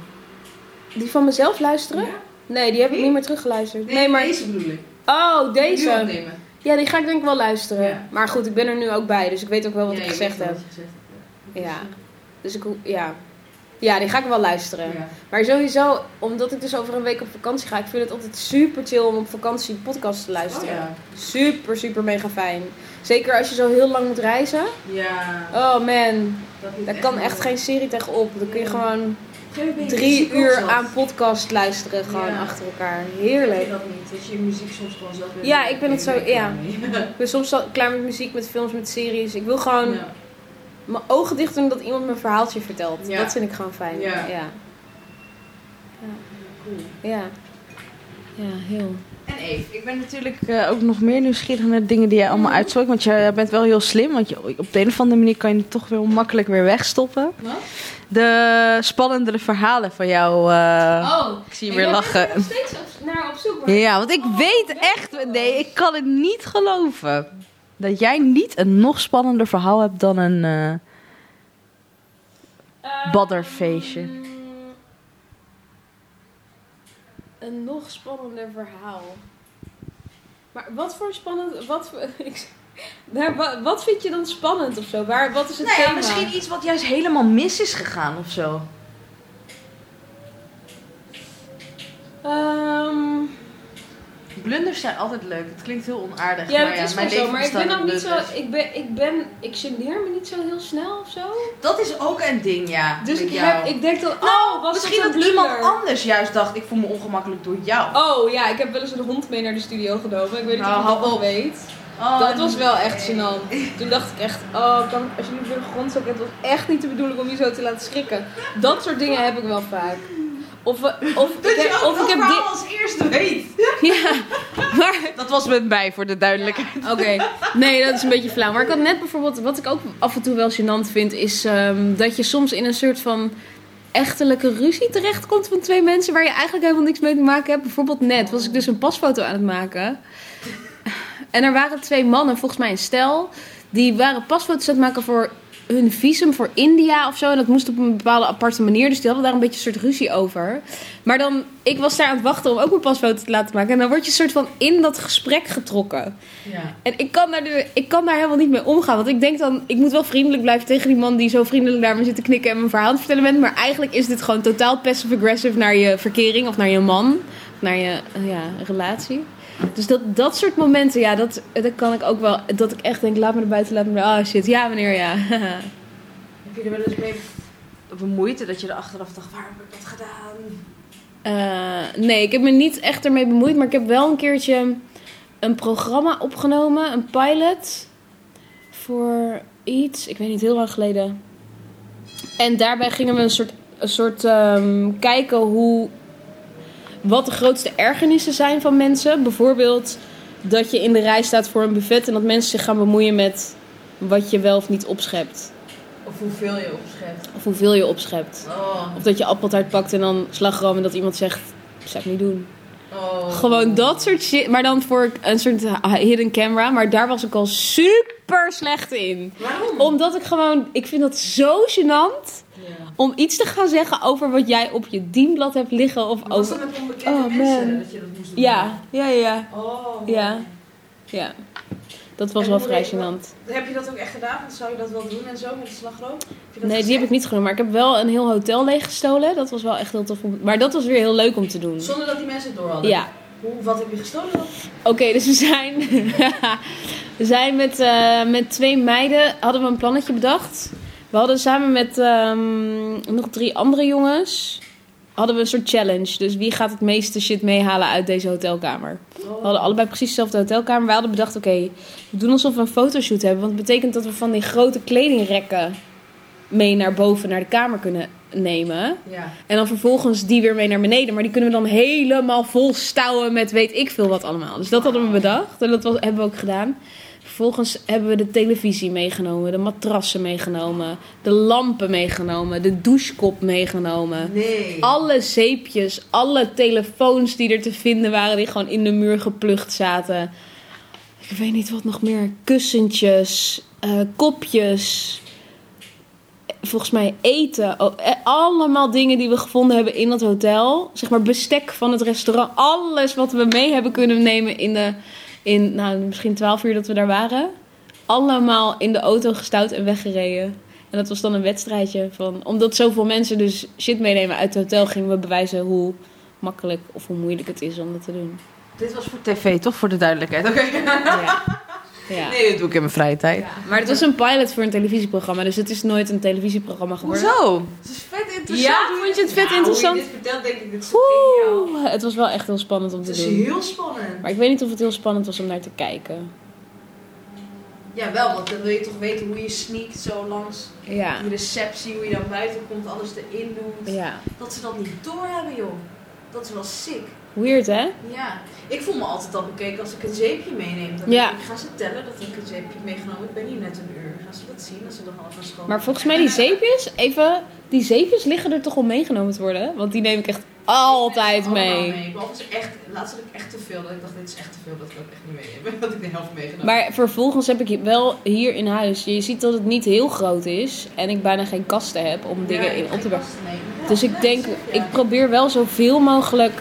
S2: die van mezelf luisteren?
S5: Ja?
S2: Nee, die heb ik
S5: Die?
S2: niet meer teruggeluisterd.
S5: Nee,
S2: Nee, maar...
S5: deze bedoel ik.
S2: Oh,
S5: Nu
S2: deze.
S5: opnemen.
S2: Ja, die ga ik denk ik wel luisteren.
S5: Ja.
S2: Maar goed, ik ben er nu ook bij. Dus ik weet ook wel wat
S5: Ja,
S2: ik
S5: je
S2: gezegd
S5: weet wel
S2: heb.
S5: wat je gezegd hebt,
S2: Ja. Dus ik... hoe- Ja. Ja, eh, die ga ik wel luisteren.
S5: Ja.
S2: Maar sowieso, omdat ik dus over een week op vakantie ga, ik vind het altijd super chill om op vakantie podcasts te
S5: Oh,
S2: luisteren.
S5: ja.
S2: Super, super mega fijn. Zeker als je zo heel lang moet reizen.
S5: Ja.
S2: Oh man,
S5: dat is
S2: daar kan echt geen serie tegenop. Dan kun je gewoon
S5: Op een gegeven moment ben je
S2: drie
S5: fysiek ook
S2: uur
S5: zat.
S2: aan podcast luisteren, gewoon
S5: Ja.
S2: achter elkaar.
S5: Heb
S2: Heerlijk.
S5: je dat niet? Dat je je muziek soms gewoon zelf bent.
S2: Ja, ik ben het zo-
S5: Ben je
S2: ja.
S5: klaar mee?
S2: Ik ben soms al klaar met muziek, met films, met series. Ik wil gewoon
S5: Ja.
S2: mijn ogen dicht doen dat iemand mijn verhaaltje vertelt.
S5: Ja.
S2: Dat vind ik gewoon fijn.
S5: Ja.
S2: ja.
S5: Cool.
S2: Ja, ja heel.
S5: En Eve,
S1: Ik ben natuurlijk Mm. eh, ook nog meer nieuwsgierig naar de dingen die jij allemaal uitzoekt. Want jij bent wel heel slim. Want je, op de een of andere manier kan je het toch wel makkelijk weer wegstoppen.
S5: Wat?
S1: De spannendere verhalen van jou. eh,
S2: Oh,
S1: ik zie je weer lachen.
S2: nog steeds op- naar op zoek. maar-
S1: Ja, want ik weet echt. Nee, ik kan het niet geloven. Dat jij niet een nog spannender verhaal hebt dan een. eh,
S2: Ehm,
S1: Badderfeestje.
S2: Een nog spannender verhaal. Maar wat voor spannend. Wat voor, ik, Maar wa- wat vind je dan spannend of zo? Waar, wat is het
S1: Nou ja,
S2: thema?
S1: misschien iets wat juist helemaal mis is gegaan of zo.
S2: Ehm,
S1: Blunders zijn altijd leuk. Het klinkt heel onaardig.
S2: ja,
S1: maar
S2: dat
S1: nou
S2: is
S1: mijn dus-
S2: wel zo.
S1: leven
S2: Maar ik ben
S1: bestaat
S2: ook
S1: uit
S2: niet zo...
S1: blunders.
S2: Ik ben... Ik ben... Ik geneer me niet zo heel snel of zo.
S1: Dat is ook een ding, ja.
S2: Dus
S1: met
S2: ik,
S1: jou.
S2: heb, ik denk dan... oh, was
S1: Nou, Misschien dat
S2: dat een
S1: iemand
S2: blunder?
S1: anders juist dacht, ik voel me ongemakkelijk door jou.
S2: Oh ja, ik heb wel eens een hond mee naar de studio genomen. Ik weet niet
S1: Nou,
S2: of je dat
S1: hou
S2: nog
S1: op.
S2: weet.
S1: Oh,
S2: dat was wel
S1: nee.
S2: echt gênant. Toen dacht ik echt, oh, kan ik alsjeblieft weer de grond zakken? Het was echt niet de bedoeling om je zo te laten schrikken. Dat soort dingen heb ik wel vaak. Of, we- of,
S5: Dat
S2: ik,
S5: je
S2: heb,
S5: ook
S2: of
S5: dat
S2: ik heb
S5: verhaal
S2: dit...
S5: als eerste weet.
S2: Ja, maar...
S1: Dat was met mij, voor de duidelijkheid.
S2: Oké, nee, dat is een beetje flauw. Maar ik had net bijvoorbeeld, wat ik ook af en toe wel gênant vind, is ehm, dat je soms in een soort van echtelijke ruzie terechtkomt van twee mensen waar je eigenlijk helemaal niks mee te maken hebt. Bijvoorbeeld net was ik dus een pasfoto aan het maken. En er waren twee mannen, volgens mij een stel, die waren pasfoto's aan het maken voor hun visum voor India of zo. En dat moest op een bepaalde aparte manier. Dus die hadden daar een beetje een soort ruzie over. Maar dan, ik was daar aan het wachten om ook een pasfoto te laten maken. En dan word je soort van in dat gesprek getrokken.
S5: Ja.
S2: En ik kan, daar nu, ik kan daar helemaal niet mee omgaan. Want ik denk dan, ik moet wel vriendelijk blijven tegen die man die zo vriendelijk naar me zit te knikken en mijn verhaal te vertellen bent. Maar eigenlijk is dit gewoon totaal passive-aggressive naar je verkering of naar je man. Of naar je eh, ja, relatie. Dus dat, dat soort momenten, ja, dat, dat kan ik ook wel. Dat ik echt denk, laat me er buiten, laat me er. Oh shit, ja meneer, ja.
S5: Heb je er wel eens mee
S1: Bemoeite dat je er achteraf dacht, waar heb ik dat gedaan?
S2: Eh, nee, ik heb me niet echt ermee bemoeid. Maar ik heb wel een keertje een programma opgenomen. Een pilot. Voor iets. Ik weet niet, heel lang geleden. En daarbij gingen we een soort, een soort ehm, kijken hoe... Wat de grootste ergernissen zijn van mensen. Bijvoorbeeld dat je in de rij staat voor een buffet. En dat mensen zich gaan bemoeien met wat je wel of niet opschept.
S5: Of hoeveel je opschept.
S2: Of hoeveel je opschept.
S5: Oh,
S2: Of dat je appeltaart pakt en dan slagroom en dat iemand zegt... Zou ik niet doen.
S5: oh.
S2: Gewoon dat soort shit. Maar dan voor een soort hidden camera. Maar daar was ik al super slecht in.
S5: Waarom?
S2: Omdat ik gewoon... Ik vind dat zo gênant
S5: Ja.
S2: om iets te gaan zeggen over wat jij op je dienblad hebt liggen. Of
S5: Maar Was dat
S2: over...
S5: met onbekende
S2: Oh,
S5: mensen
S2: man.
S5: dat je dat moest doen?
S2: Ja, ja, ja, ja.
S5: Oh.
S2: Ja. Ja. Dat was
S5: En
S2: wel
S5: hoe
S2: vrij
S5: deed je dat?
S2: gênant.
S5: Heb je dat ook echt gedaan? Want zou je dat wel doen en zo met de slagroom? Heb je dat
S2: Nee, die heb ik niet genomen. Maar ik heb wel een heel hotel leeggestolen. Dat was wel echt heel tof. om- Maar dat was weer heel leuk om te doen.
S5: gezegd? Zonder dat die mensen het door hadden?
S2: Ja.
S5: Hoe, wat heb je gestolen dan?
S2: Oké, dus we zijn, we zijn met, eh, met twee meiden hadden we een plannetje bedacht. We hadden samen met ehm, nog drie andere jongens hadden we een soort challenge. Dus wie gaat het meeste shit meehalen uit deze hotelkamer? We hadden allebei precies dezelfde hotelkamer. We hadden bedacht, oké, we doen alsof we een fotoshoot hebben. Want dat betekent dat we van die grote kledingrekken mee naar boven naar de kamer kunnen nemen.
S5: Ja.
S2: En dan vervolgens die weer mee naar beneden. Maar die kunnen we dan helemaal vol stouwen met weet ik veel wat allemaal. Dus dat hadden we bedacht. En dat was, hebben we ook gedaan. Vervolgens hebben we de televisie meegenomen. De matrassen meegenomen. De lampen meegenomen. De douchekop meegenomen.
S5: Nee.
S2: Alle zeepjes. Alle telefoons die er te vinden waren. Die gewoon in de muur geplucht zaten. Ik weet niet wat nog meer. Kussentjes. eh, kopjes volgens mij eten. Oh, eh, allemaal dingen die we gevonden hebben in dat hotel. Zeg maar bestek van het restaurant. Alles wat we mee hebben kunnen nemen in de. In, nou, misschien 12 uur dat we daar waren. Allemaal in de auto gestouwd en weggereden. En dat was dan een wedstrijdje. Van, omdat zoveel mensen dus shit meenemen uit het hotel, gingen we bewijzen hoe makkelijk of hoe moeilijk het is om dat te doen.
S1: Dit was voor tv, toch? Voor de duidelijkheid. Oké.
S2: Ja. Ja.
S1: Nee, dat doe ik in mijn vrije tijd.
S2: Maar het was een pilot voor een televisieprogramma, dus het is nooit een televisieprogramma geworden.
S1: Hoezo?
S5: Het is vet interessant.
S2: Ja, Nou, vond je het vet
S5: Hoe
S2: interessant?
S5: je dit vertelt, denk ik, dit is geniaal.
S2: Oeh, het was wel echt heel spannend om
S5: Het
S2: te
S5: is
S2: doen.
S5: heel spannend.
S2: Maar ik weet niet of het heel spannend was om naar te kijken.
S5: Ja, wel, want dan wil je toch weten hoe je sneakt zo langs
S2: Ja.
S5: die receptie, hoe je dan buiten komt, alles erin doet.
S2: Ja.
S5: Dat ze dat niet doorhebben, joh. Dat is wel sick.
S2: Weird, hè?
S5: Ja, ik voel me altijd al bekeken als ik een zeepje meeneem. Dan
S2: Ja.
S5: denk ik, gaan ze tellen dat ik een zeepje heb meegenomen? Ik ben hier net een uur. Gaan ze dat zien als ze dan half naar school
S2: Maar volgens mij die zeepjes, even... Die zeepjes liggen er toch om meegenomen te worden? Want die neem ik echt altijd
S5: Allemaal
S2: mee.
S5: Behalve ze echt, laatst had ik echt te veel. Dat ik dacht, dit is echt te veel. Dat wil ik echt niet mee hebben. Dat ik de helft meegenomen.
S2: Maar vervolgens heb ik wel hier in huis... Je ziet dat het niet heel groot is. En ik bijna geen kasten heb om dingen in op te bergen.
S5: nemen.
S2: Dus ik denk, ik probeer wel zoveel mogelijk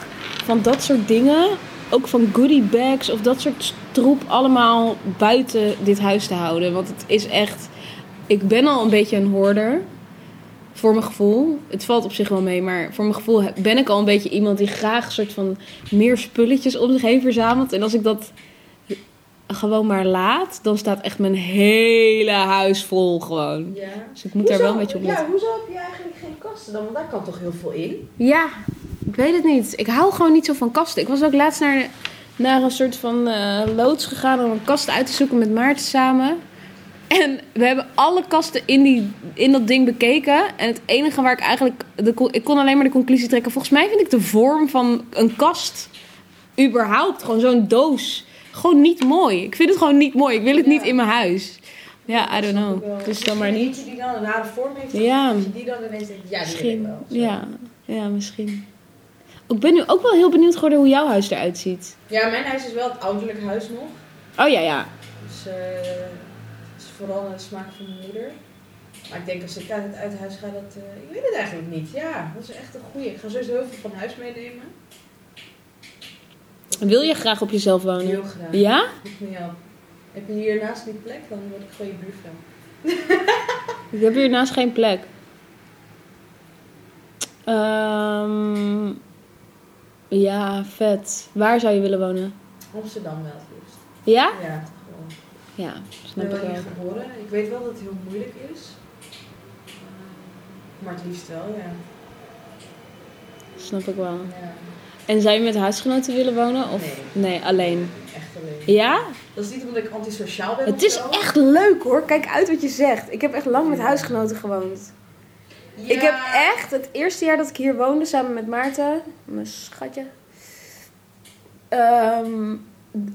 S2: van dat soort dingen ook van goodie bags of dat soort troep allemaal buiten dit huis te houden. Want het is echt. Ik ben al een beetje een hoorder. Voor mijn gevoel. Het valt op zich wel mee, maar voor mijn gevoel he- ben ik al een beetje iemand die graag een soort van meer spulletjes om zich heen verzamelt. En als ik dat gewoon maar laat, dan staat echt mijn hele huis vol gewoon.
S1: Ja.
S2: Dus ik moet daar wel een beetje op letten.
S1: Ja, hoezo heb je eigenlijk geen kasten dan? Want daar kan toch heel veel in?
S2: Ja, ik weet het niet. Ik hou gewoon niet zo van kasten. Ik was ook laatst naar, naar een soort van eh, loods gegaan om een kast uit te zoeken met Maarten samen. En we hebben alle kasten in, die, in dat ding bekeken. En het enige waar ik eigenlijk. De, co- ik kon alleen maar de conclusie trekken. Volgens mij vind ik de vorm van een kast. überhaupt gewoon zo'n doos. gewoon niet mooi. Ik vind het gewoon niet mooi. Ik wil het niet in mijn huis. Ja, I don't know. Dus dan maar niet.
S1: Eentje die dan een rare vorm heeft.
S2: Ja.
S1: Dat je die dan ineens denkt, ja, die
S2: Misschien.
S1: wil ik wel.
S2: Ja, ja, misschien. Ik ben nu ook wel heel benieuwd geworden hoe jouw huis eruit ziet.
S1: Ja, mijn huis is wel het ouderlijk huis nog.
S2: Oh ja, ja.
S1: Dus eh, het is vooral naar de smaak van mijn moeder. Maar ik denk als ik uit het uit huis ga, dat... eh, ik weet het eigenlijk niet. Ja, dat is echt een goeie. Ik ga sowieso heel veel van huis meenemen.
S2: Wil je graag op jezelf wonen?
S1: Heel graag.
S2: Ja?
S1: Hoeft me niet helpen. Heb je hiernaast die plek, dan word ik gewoon je buurvrouw.
S2: Ik heb hiernaast geen plek. Ehm ja, vet. Waar zou je willen wonen?
S1: Amsterdam wel het liefst.
S2: Ja?
S1: Ja, gewoon.
S2: Ja,
S1: Ik
S2: snap
S1: ben
S2: ik
S1: wel
S2: wel.
S1: niet geboren. Ik weet wel dat het heel moeilijk is. Eh, Maar het liefst wel, ja.
S2: Snap ik wel.
S1: ja.
S2: En zou je met huisgenoten willen wonen? Of nee, alleen?
S1: Echt alleen.
S2: Ja?
S1: Dat is niet omdat ik antisociaal ben
S2: Het
S1: of
S2: is
S1: zo.
S2: echt leuk hoor. Kijk uit wat je zegt. Ik heb echt lang met huisgenoten gewoond.
S1: Ja.
S2: Ik heb echt het eerste jaar dat ik hier woonde samen met Maarten, mijn schatje, ehm,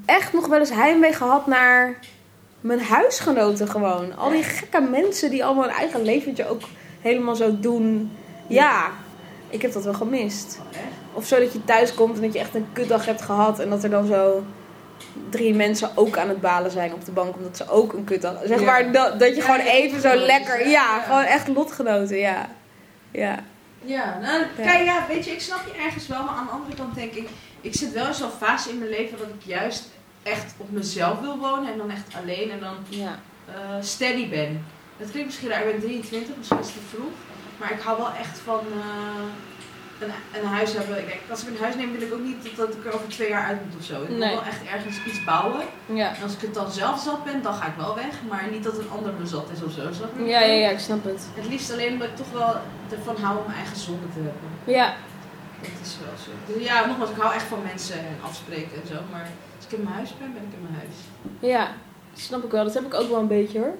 S2: echt nog wel eens heimwee gehad naar mijn huisgenoten gewoon. Al die gekke mensen die allemaal hun eigen leventje ook helemaal zo doen. Ja, ik heb dat wel gemist.
S1: Oh, echt?
S2: Of zo dat je thuis komt en dat je echt een kutdag hebt gehad en dat er dan zo drie mensen ook aan het balen zijn op de bank omdat ze ook een kutdag... Zeg
S1: Ja.
S2: maar dat, dat je
S1: Ja,
S2: gewoon
S1: je
S2: even zo
S1: lotgenootjes,
S2: lekker...
S1: ja,
S2: Ja,
S1: ja.
S2: gewoon echt lotgenoten, ja. Ja.
S1: Ja, nou, kijk, ja, weet je, ik snap je ergens wel, maar aan de andere kant denk ik, ik zit wel in zo'n fase in mijn leven dat ik juist echt op mezelf wil wonen en dan echt alleen en dan
S2: Ja.
S1: eh, steady ben. Dat klinkt misschien raar, ik ben 23, misschien is het te vroeg. Maar ik hou wel echt van eh, een, een huis hebben. Ik denk, als ik een huis neem, wil ik ook niet dat, dat ik er over twee jaar uit moet of zo. Ik wil
S2: Nee.
S1: wel echt ergens iets bouwen.
S2: Ja.
S1: En als ik het dan zelf zat ben, dan ga ik wel weg. Maar niet dat een ander me zat is of zo. snap je?
S2: ik snap het.
S1: Het liefst alleen omdat ik toch wel ervan hou om mijn eigen zonde te hebben.
S2: Ja.
S1: Dat is wel zo. Dus ja, nogmaals, ik hou echt van mensen en afspreken en zo. Maar als ik in mijn huis ben, ben ik in mijn huis.
S2: Ja, snap ik wel. Dat heb ik ook wel een beetje hoor.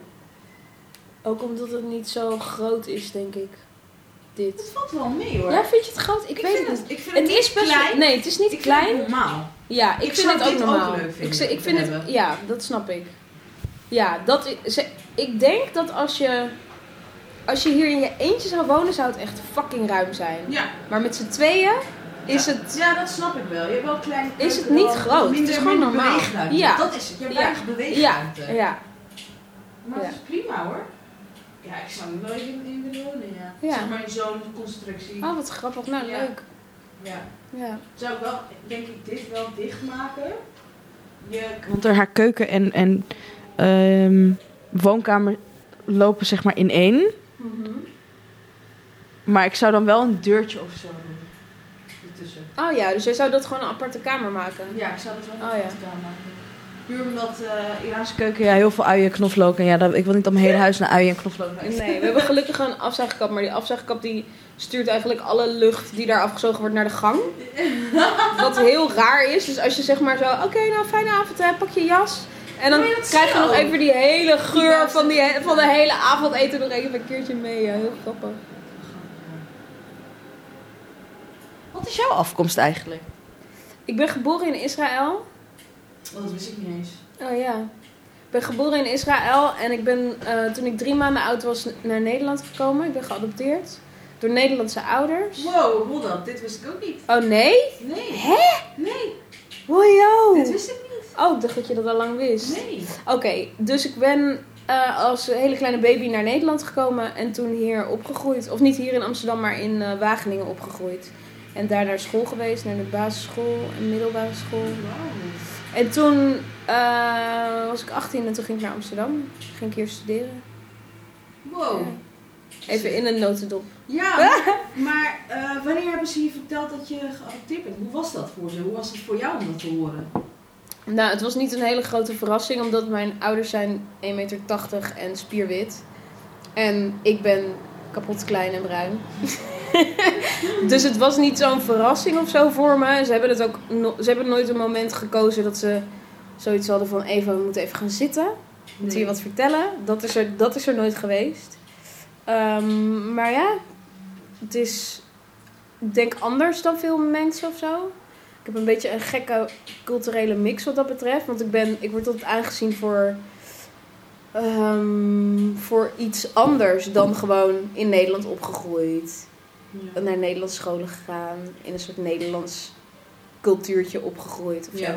S2: Ook omdat het niet zo groot is, denk ik. Dit.
S1: Dat valt wel mee hoor.
S2: Ja, vind je het groot? Ik, weet
S1: vind
S2: het niet.
S1: ik vind
S2: Het
S1: niet
S2: is best
S1: klein.
S2: Nee, het is
S1: Ik
S2: niet
S1: vind
S2: klein.
S1: het normaal.
S2: Ja, ik,
S1: Ik
S2: vind
S1: zou
S2: het ook
S1: dit ook
S2: normaal.
S1: leuk vinden
S2: ik, zeg- ik
S1: te
S2: vind het,
S1: hebben.
S2: ja, dat snap ik. Ja, dat is, ze- ik denk dat als je, als je hier in je eentje zou wonen, zou het echt fucking ruim zijn.
S1: Ja.
S2: Maar met z'n tweeën is het.
S1: Ja, dat snap ik wel. Je hebt wel klein.
S2: Is het niet
S1: wel
S2: groot?
S1: minder-
S2: Het is gewoon
S1: minder
S2: normaal.
S1: beweegruimte.
S2: Ja.
S1: Dat is het. Je hebt
S2: Ja.
S1: weinig
S2: Ja,
S1: beweegruimte.
S2: ja,
S1: Maar dat
S2: Ja.
S1: is prima hoor. Ja, ik zou er wel in, in willen wonen, ja.
S2: Ja.
S1: Zeg maar in zo'n constructie.
S2: Oh, wat grappig. Nou,
S1: Ja.
S2: leuk.
S1: Ja.
S2: Ja.
S1: Zou ik wel, denk ik, dit wel dichtmaken. Je...
S4: Want er haar keuken en, en ehm, woonkamer lopen zeg maar in één.
S1: Mhm.
S4: Nou,
S2: Dus
S4: Maar ik zou dan wel een deurtje of zo doen.
S1: Ertussen.
S2: Oh ja, dus jij zou dat gewoon een aparte kamer maken.
S1: Ja, ik zou dat wel
S2: Oh, ja.
S1: gedaan maken. Puur omdat eh Iraanse
S4: Keuken, ja, heel veel uien, knoflook. En ja, dat, ik wil niet dat mijn hele huis naar uien en knoflook ruikt.
S2: Nee, we hebben gelukkig gewoon een afzuigkap, maar die afzuigkap die stuurt eigenlijk alle lucht die daar afgezogen wordt naar de gang. Wat heel raar is. Dus als je zeg maar zo, oké, nou fijne avond, hè, pak je jas. En dan
S1: Doe je dat
S2: krijg je
S1: zo?
S2: nog even die hele geur
S1: Ja,
S2: van, die, he- van de hele avondeten nog even een keertje mee. Ja, heel grappig.
S4: Wat is jouw afkomst eigenlijk?
S2: Ik ben geboren in Israël.
S1: Oh, dat wist ik niet eens.
S2: Oh ja. Ik ben geboren in Israël en ik ben eh, toen ik drie maanden oud was naar Nederland gekomen. Ik ben geadopteerd door Nederlandse ouders.
S1: Wow, hold up. Dit wist ik ook niet.
S2: Oh nee?
S1: Nee.
S2: Hè?
S1: Nee,
S2: Hojo!
S1: dit wist ik niet.
S2: Oh, ik dacht dat je dat al lang wist.
S1: Nee.
S2: Oké, dus ik ben eh, als hele kleine baby naar Nederland gekomen en toen hier opgegroeid. Of niet hier in Amsterdam, maar in eh, Wageningen opgegroeid. En daar naar school geweest, naar de basisschool en middelbare school. En toen eh, was ik 18 en toen ging ik naar Amsterdam. Ging ik hier studeren.
S5: Wow.
S2: Even in een notendop.
S5: Ja, maar- maar eh, wanneer hebben ze je verteld dat je geadopteerd bent? Hoe was dat voor ze? Hoe was het voor jou om dat te horen?
S2: Nou, het was niet een hele grote verrassing, omdat mijn ouders zijn 1,80 meter en spierwit. En ik ben kapot klein en bruin. dus het was niet zo'n verrassing of zo voor me. En Ze hebben, het ook no- ze hebben nooit een moment gekozen dat ze zoiets hadden van... Eva, we moeten even gaan zitten. Moet je wat vertellen? Dat is er, dat is er nooit geweest. Ehm, maar ja, het is... Ik denk anders dan veel mensen of zo. Ik heb een beetje een gekke culturele mix wat dat betreft. Want ik, ben, ik word altijd aangezien voor, ehm, voor iets anders dan gewoon in Nederland opgegroeid.
S5: Ja.
S2: Naar Nederlandse scholen gegaan. In een soort Nederlands cultuurtje opgegroeid of zo.
S5: Ja.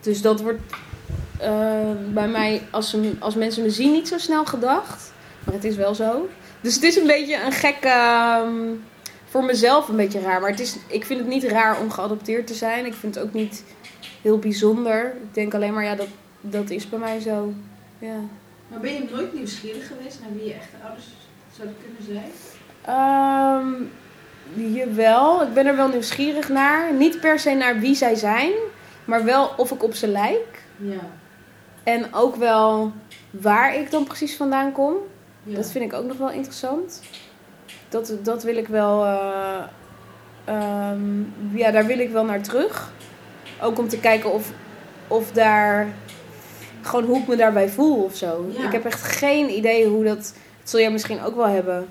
S2: Dus dat wordt eh, bij mij, als, ze, als mensen me zien, niet zo snel gedacht. Maar het is wel zo. Dus het is een beetje een gekke... ehm, voor mezelf een beetje raar. Maar het is, ik vind het niet raar om geadopteerd te zijn. Ik vind het ook niet heel bijzonder. Ik denk alleen maar, ja, dat, dat is bij mij zo. Ja.
S5: Maar ben je nooit nieuwsgierig geweest naar wie je echte ouders zouden kunnen zijn?
S2: Ehm, jawel, ik ben er wel nieuwsgierig naar. Niet per se naar wie zij zijn, maar wel of ik op ze lijk.
S5: Ja.
S2: En ook wel waar ik dan precies vandaan kom.
S5: ja.
S2: Dat vind ik ook nog wel interessant. Dat, dat wil ik wel. eh, ehm, ja, daar wil ik wel naar terug. Ook om te kijken of, of daar. Gewoon hoe ik me daarbij voel of zo.
S5: Ja.
S2: Ik heb echt geen idee hoe dat. Dat zul jij misschien ook wel hebben.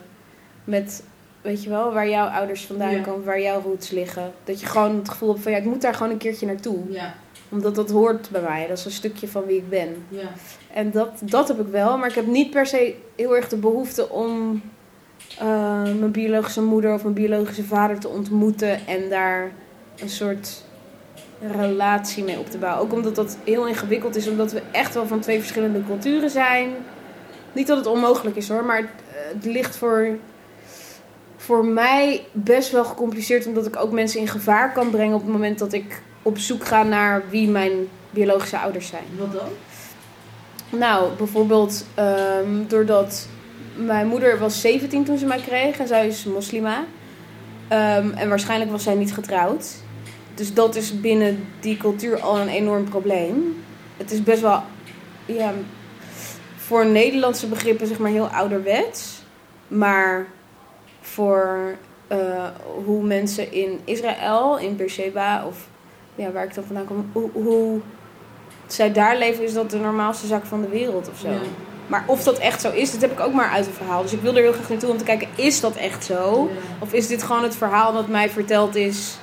S2: Met, weet je wel, waar jouw ouders vandaan
S5: Ja.
S2: komen, waar jouw roots liggen. Dat je gewoon het gevoel hebt van ja, ik moet daar gewoon een keertje naartoe.
S5: Ja,
S2: Omdat dat hoort bij mij. Dat is een stukje van wie ik ben.
S5: ja.
S2: En dat, dat heb ik wel, maar ik heb niet per se heel erg de behoefte om eh, mijn biologische moeder of mijn biologische vader te ontmoeten en daar een soort relatie mee op te bouwen. Ook omdat dat heel ingewikkeld is, omdat we echt wel van twee verschillende culturen zijn. Niet dat het onmogelijk is hoor, maar het, het ligt voor, voor mij best wel gecompliceerd, omdat ik ook mensen in gevaar kan brengen op het moment dat ik op zoek ga naar wie mijn biologische ouders zijn.
S5: Wat dan?
S2: Nou, bijvoorbeeld ehm, doordat mijn moeder was 17 toen ze mij kreeg en zij is moslima. Ehm, en waarschijnlijk was zij niet getrouwd. Dus dat is binnen die cultuur al een enorm probleem. Het is best wel, ja, voor Nederlandse begrippen zeg maar heel ouderwets. Maar voor eh, hoe mensen in Israël, in Beersheba of ja, waar ik dan vandaan kom, hoe, hoe zij daar leven, is dat de normaalste zaak van de wereld of zo.
S5: Ja.
S2: Maar of dat echt zo is, dat heb ik ook maar uit een verhaal. Dus ik wil er heel graag naartoe om te kijken, is dat echt zo?
S5: Ja.
S2: Of is dit gewoon het verhaal dat mij verteld is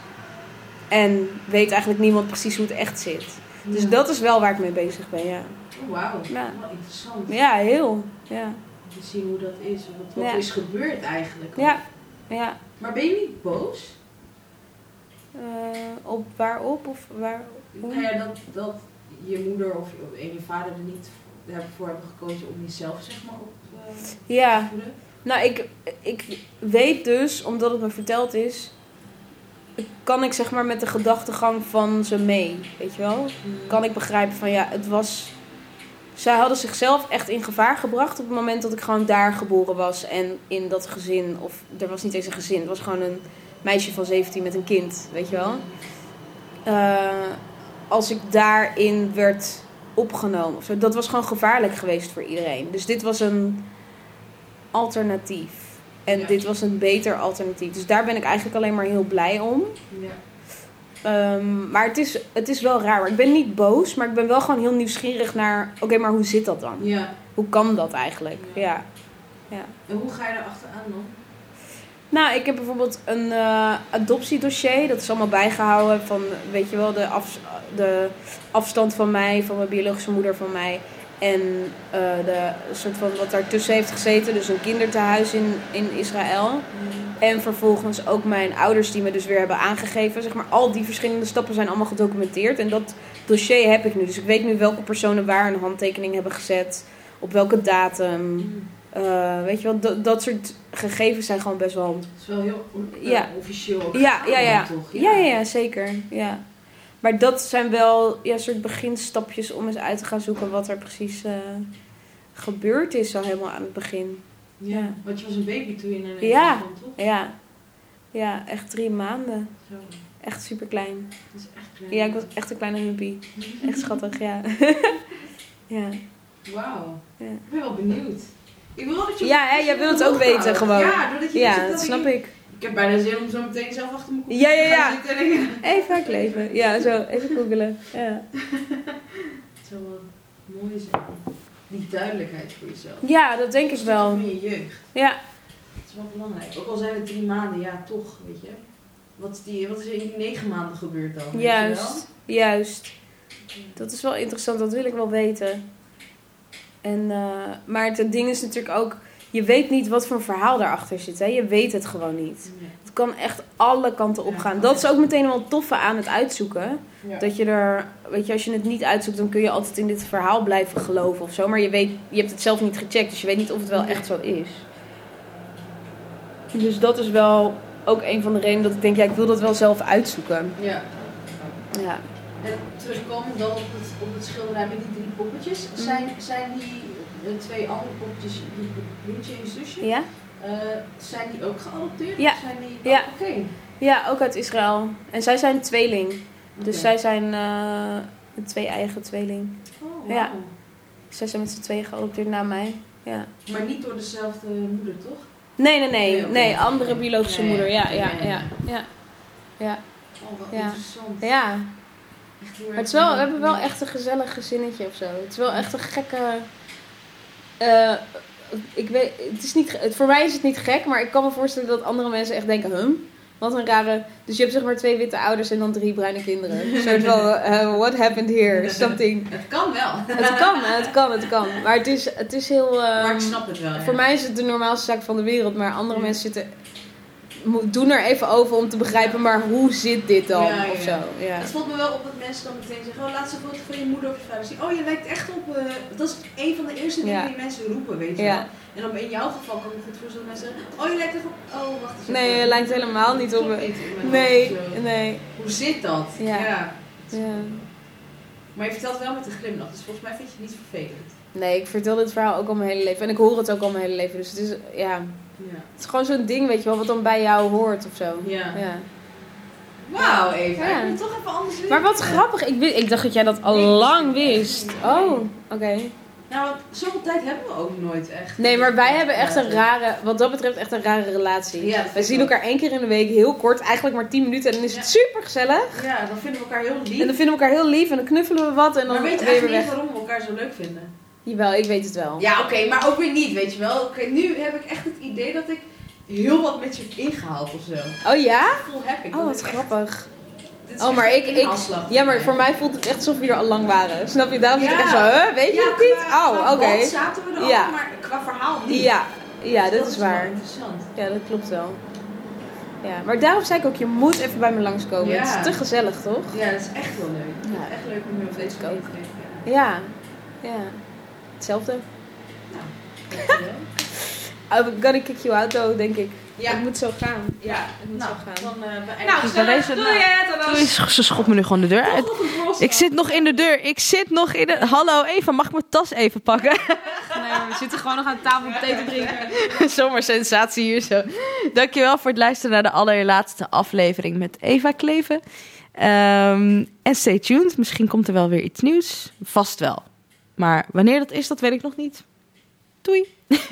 S2: en weet eigenlijk niemand precies hoe het echt zit? Dus
S5: Ja.
S2: dat is wel waar ik mee bezig ben, ja.
S5: Oh, wauw.
S2: Ja.
S5: Wel interessant.
S2: Ja, heel. Ja,
S5: Om te zien hoe dat is. Wat, wat
S2: Ja.
S5: is gebeurd eigenlijk.
S2: ja. ja.
S5: Maar ben je niet boos?
S2: Eh, op waarop of waar? Hoe?
S5: Nou ja, dat, dat je moeder of je, en je vader er niet voor hebben gekozen om jezelf zeg maar op eh, te
S2: Ja,
S5: voeden?
S2: nou ik, ik weet dus, omdat het me verteld is, kan ik zeg maar met de gedachtegang van ze mee, weet je wel? kan ik begrijpen van ja, het was. Zij hadden zichzelf echt in gevaar gebracht op het moment dat ik gewoon daar geboren was. En in dat gezin, of er was niet eens een gezin, het was gewoon een meisje van 17 met een kind, weet je wel. Eh, als ik daarin werd opgenomen of zo, dat was gewoon gevaarlijk geweest voor iedereen. Dus dit was een alternatief. En
S5: Ja.
S2: dit was een beter alternatief. Dus daar ben ik eigenlijk alleen maar heel blij om.
S5: Ja.
S2: Ehm, maar het is, het is wel raar. Maar ik ben niet boos, maar ik ben wel gewoon heel nieuwsgierig naar... Oké, maar hoe zit dat dan?
S5: ja.
S2: Hoe kan dat eigenlijk?
S5: Ja.
S2: Ja.
S5: En hoe ga je erachteraan dan?
S2: Nou, ik heb bijvoorbeeld een eh, adoptiedossier. Dat is allemaal bijgehouden van, weet je wel, de, af, de afstand van mij, van mijn biologische moeder van mij. En eh, de soort van wat daartussen heeft gezeten. Dus een kindertehuis in, in Israël. En vervolgens ook mijn ouders die me dus weer hebben aangegeven. Zeg maar, al die verschillende stappen zijn allemaal gedocumenteerd. En dat dossier heb ik nu. Dus ik weet nu welke personen waar een handtekening hebben gezet. Op welke datum. Eh, eh, weet je wel, dat- dat soort gegevens zijn gewoon best wel...
S1: Het is wel heel on- eh,
S2: Ja.
S1: officieel. ook
S2: Ja,
S1: gedaan
S2: ja, ja.
S1: toch?
S2: Ja, ja, ja, zeker. Ja. Maar dat zijn wel ja, soort beginstapjes om eens uit te gaan zoeken wat er precies eh, gebeurd is al helemaal aan het begin.
S1: Ja, want je was een baby toen je naar Nederland
S2: Ja.
S1: kwam, toch?
S2: Ja, ja echt drie maanden.
S1: Zo,
S2: Echt super klein.
S1: dat is echt klein.
S2: Ja, ik was echt een kleine huppie. Echt schattig, ja. ja.
S1: Wauw.
S2: Ja.
S1: Ik ben wel benieuwd. Ik wil dat je...
S2: Ja, hè,
S1: dat je
S2: jij wil het ook
S1: ophoudt.
S2: weten gewoon.
S1: Ja, doordat je
S2: ja,
S1: zit,
S2: dat
S1: dan
S2: snap
S1: denk
S2: ik.
S1: Ik heb bijna zin om zo meteen zelf achter mijn
S2: Ja, ja,
S1: te gaan
S2: ja.
S1: zitten en ik-
S2: Even uitleven. Ja, zo, even googelen. Ja.
S1: Het zou wel mooi zijn. Die duidelijkheid voor jezelf.
S2: ja, dat denk ik wel.
S1: Van je jeugd.
S2: Ja,
S1: Het is wel belangrijk. Ook al zijn het drie maanden, ja, toch, weet je. Wat is, die, wat is er in die negen maanden gebeurd dan? weet je wel?
S2: juist. Juist. Dat is wel interessant, dat wil ik wel weten. En, eh, maar het ding is natuurlijk ook, je weet niet wat voor verhaal daarachter zit. Hè? Je weet het gewoon niet.
S1: Ja.
S2: Het kan echt alle kanten
S1: Ja,
S2: opgaan.
S1: kan
S2: Dat
S1: echt.
S2: is ook meteen wel het toffe aan het uitzoeken.
S1: Ja.
S2: Dat je er, weet je, als je het niet uitzoekt, dan kun je altijd in dit verhaal blijven geloven of zo. Maar je, weet, je hebt het zelf niet gecheckt, dus je weet niet of het wel echt zo is. Dus dat is wel ook een van de redenen dat ik denk, ja, ik wil dat wel zelf uitzoeken.
S1: Ja.
S2: Ja.
S1: En terugkomen dan op het, op het schilderij met die drie poppetjes.
S2: Mhm.
S1: Zijn, zijn die eh, twee andere poppetjes, die broertje en je zusje,
S2: Ja?
S1: eh, zijn die ook geadopteerd?
S2: Ja.
S1: Of Zijn die...
S2: Ja.
S1: Oké.
S2: Ja, ook uit Israël. En zij zijn tweeling. Dus
S1: Oké.
S2: zij zijn eh, een twee-eigen tweeling.
S1: Oh,
S2: Ja.
S1: wauw.
S2: Zij zijn met z'n tweeën geadopteerd na mij. Ja.
S1: Maar niet door dezelfde moeder, toch?
S2: Nee, nee, nee.
S1: Nee,
S2: Nee,
S1: oké.
S2: andere biologische
S1: Nee,
S2: moeder. Ja,
S1: oké,
S2: ja,
S1: ja,
S2: ja.
S1: ja.
S2: Ja. Ja.
S1: Oh, wat
S2: Ja.
S1: interessant.
S2: ja.
S1: Echt heel erg
S2: Maar het is wel, we
S1: leuk.
S2: hebben wel echt een gezellig gezinnetje of zo. Het is wel echt een gekke. eh, ik weet, het is niet, ge- het, voor mij is het niet gek, maar ik kan me voorstellen dat andere mensen echt denken: hum, wat een rare. Dus je hebt zeg maar twee witte ouders en dan drie bruine kinderen. Een soort van: eh, what happened here? Something.
S1: Het kan wel.
S2: Het kan, het kan, het kan. Maar het is, het is heel. eh,
S1: maar ik snap het wel. ja.
S2: voor mij is het de normaalste zaak van de wereld, maar andere
S1: Ja.
S2: mensen zitten. mo- Doen er even over om te begrijpen, maar hoe zit dit dan?
S1: Ja, ja.
S2: Of zo. Ja.
S1: Het valt me wel op dat mensen dan meteen zeggen: oh, laat ze een foto van je moeder of je vader zien. Oh, je lijkt echt op. eh, dat is een van de eerste dingen
S2: Ja.
S1: die mensen roepen, weet je
S2: Ja.
S1: wel. En dan in jouw geval kan ik me goed voorstellen dat mensen zeggen: oh, je lijkt echt op. Oh, wacht eens.
S2: Nee,
S1: even.
S2: het lijkt helemaal
S1: Dat
S2: niet op
S1: klopt
S2: me.
S1: niet in mijn
S2: Nee,
S1: hoofd, zo.
S2: nee.
S1: Hoe zit dat?
S2: Ja. Ja.
S1: Maar je vertelt wel met een glimlach, dus volgens mij vind je het niet vervelend.
S2: Nee, ik vertel dit verhaal ook al mijn hele leven. En ik hoor het ook al mijn hele leven. Dus het is, ja.
S1: Ja.
S2: Het is gewoon zo'n ding, weet je wel, wat dan bij jou hoort of zo.
S1: ja.
S2: Ja.
S1: Wauw, even.
S2: Ja.
S1: Ik moet toch even anders leren.
S2: Maar wat grappig, ik, wi- ik dacht dat jij dat al lang wist. Oh, oké.
S1: Nou, want zoveel tijd hebben we ook nooit echt.
S2: Nee, maar wij hebben echt een
S1: Ja.
S2: rare, wat dat betreft, echt een rare
S1: Ja,
S2: relatie.
S1: dat vind
S2: wij
S1: ik
S2: zien
S1: ook.
S2: elkaar één keer in de week, heel kort, eigenlijk maar 10 minuten. En dan is het super gezellig.
S1: Ja, dan vinden we elkaar heel lief.
S2: En dan vinden we elkaar heel lief en dan knuffelen we wat en dan
S1: maar weet
S2: ben je weer
S1: eigenlijk
S2: weg.
S1: niet waarom we elkaar zo leuk vinden.
S2: Jawel, ik weet het wel.
S1: Ja, oké, maar ook weer niet, weet je wel. Oké, nu heb ik echt het idee dat ik heel wat met je heb ingehaald of zo. Dat
S2: Oh ja?
S1: gevoel heb ik.
S2: Oh,
S1: dat
S2: wat
S1: ik echt-
S2: grappig.
S1: dit is
S2: Oh, maar
S1: echt
S2: ik,
S1: een
S2: ik,
S1: inhaalslag.
S2: ja, maar voor mij voelt het echt alsof we er al lang waren. Snap je? Daarom zit ik
S1: Ja.
S2: echt zo, hè? weet je
S1: Ja,
S2: het niet?
S1: qua-
S2: Oh,
S1: qua
S2: oké.
S1: band zaten we er
S2: Ja.
S1: al, maar qua verhaal niet.
S2: Ja, ja,
S1: Dus
S2: dat is
S1: wel
S2: waar.
S1: interessant.
S2: Ja, dat klopt wel. Ja, maar daarom zei ik ook, je moet even bij me langskomen.
S1: Ja.
S2: Het is te gezellig, toch?
S1: Ja, dat is echt wel leuk.
S2: Ja.
S1: Echt leuk om je op deze
S2: ook.
S1: manier te kijken.
S2: Ja, ja. Hetzelfde. Nou,
S1: Dankjewel.
S2: I'm gonna kick you out, though, denk ik.
S1: Ja.
S2: Het moet zo gaan. Ja, het moet
S1: Nou,
S2: zo gaan.
S1: dan eh, beëindigen eh,
S2: Nou,
S1: we
S4: snel,
S2: gezellig.
S4: deze-
S2: Doei, hè,
S4: Doei,
S2: Tadas.
S4: Ze schopt me nu gewoon de deur uit.
S1: Nog een cross. eh.
S4: Ik zit nog in de deur. Ik zit nog in de... Hallo, Eva, mag ik mijn tas even pakken?
S2: Nee, we zitten gewoon nog aan tafel om thee te drinken.
S4: Zomaar sensatie hier zo. Dankjewel voor het luisteren naar de allerlaatste aflevering met Eva Kleven. Ehm, en stay tuned. Misschien komt er wel weer iets nieuws. Vast wel. Maar wanneer dat is, dat weet ik nog niet. Doei.
S1: Even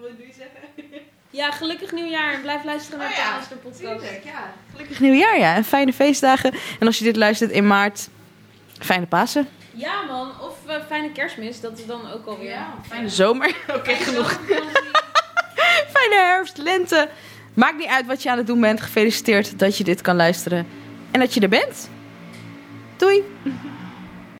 S1: wat doe je zeggen?
S2: Ja, gelukkig nieuwjaar. Blijf luisteren naar
S1: Oh
S2: de
S1: ja,
S2: Tadas, de podcast.
S1: Tuurlijk, ja.
S4: Gelukkig nieuwjaar, ja. En fijne feestdagen. En als je dit luistert in maart, fijne Pasen.
S2: Ja man, of eh, fijne kerstmis, dat is dan ook alweer.
S1: Ja,
S4: Fijne zomer. Oké, genoeg. Fijne herfst, lente. Maakt niet uit wat je aan het doen bent. Gefeliciteerd dat je dit kan luisteren. En dat je er bent. Doei.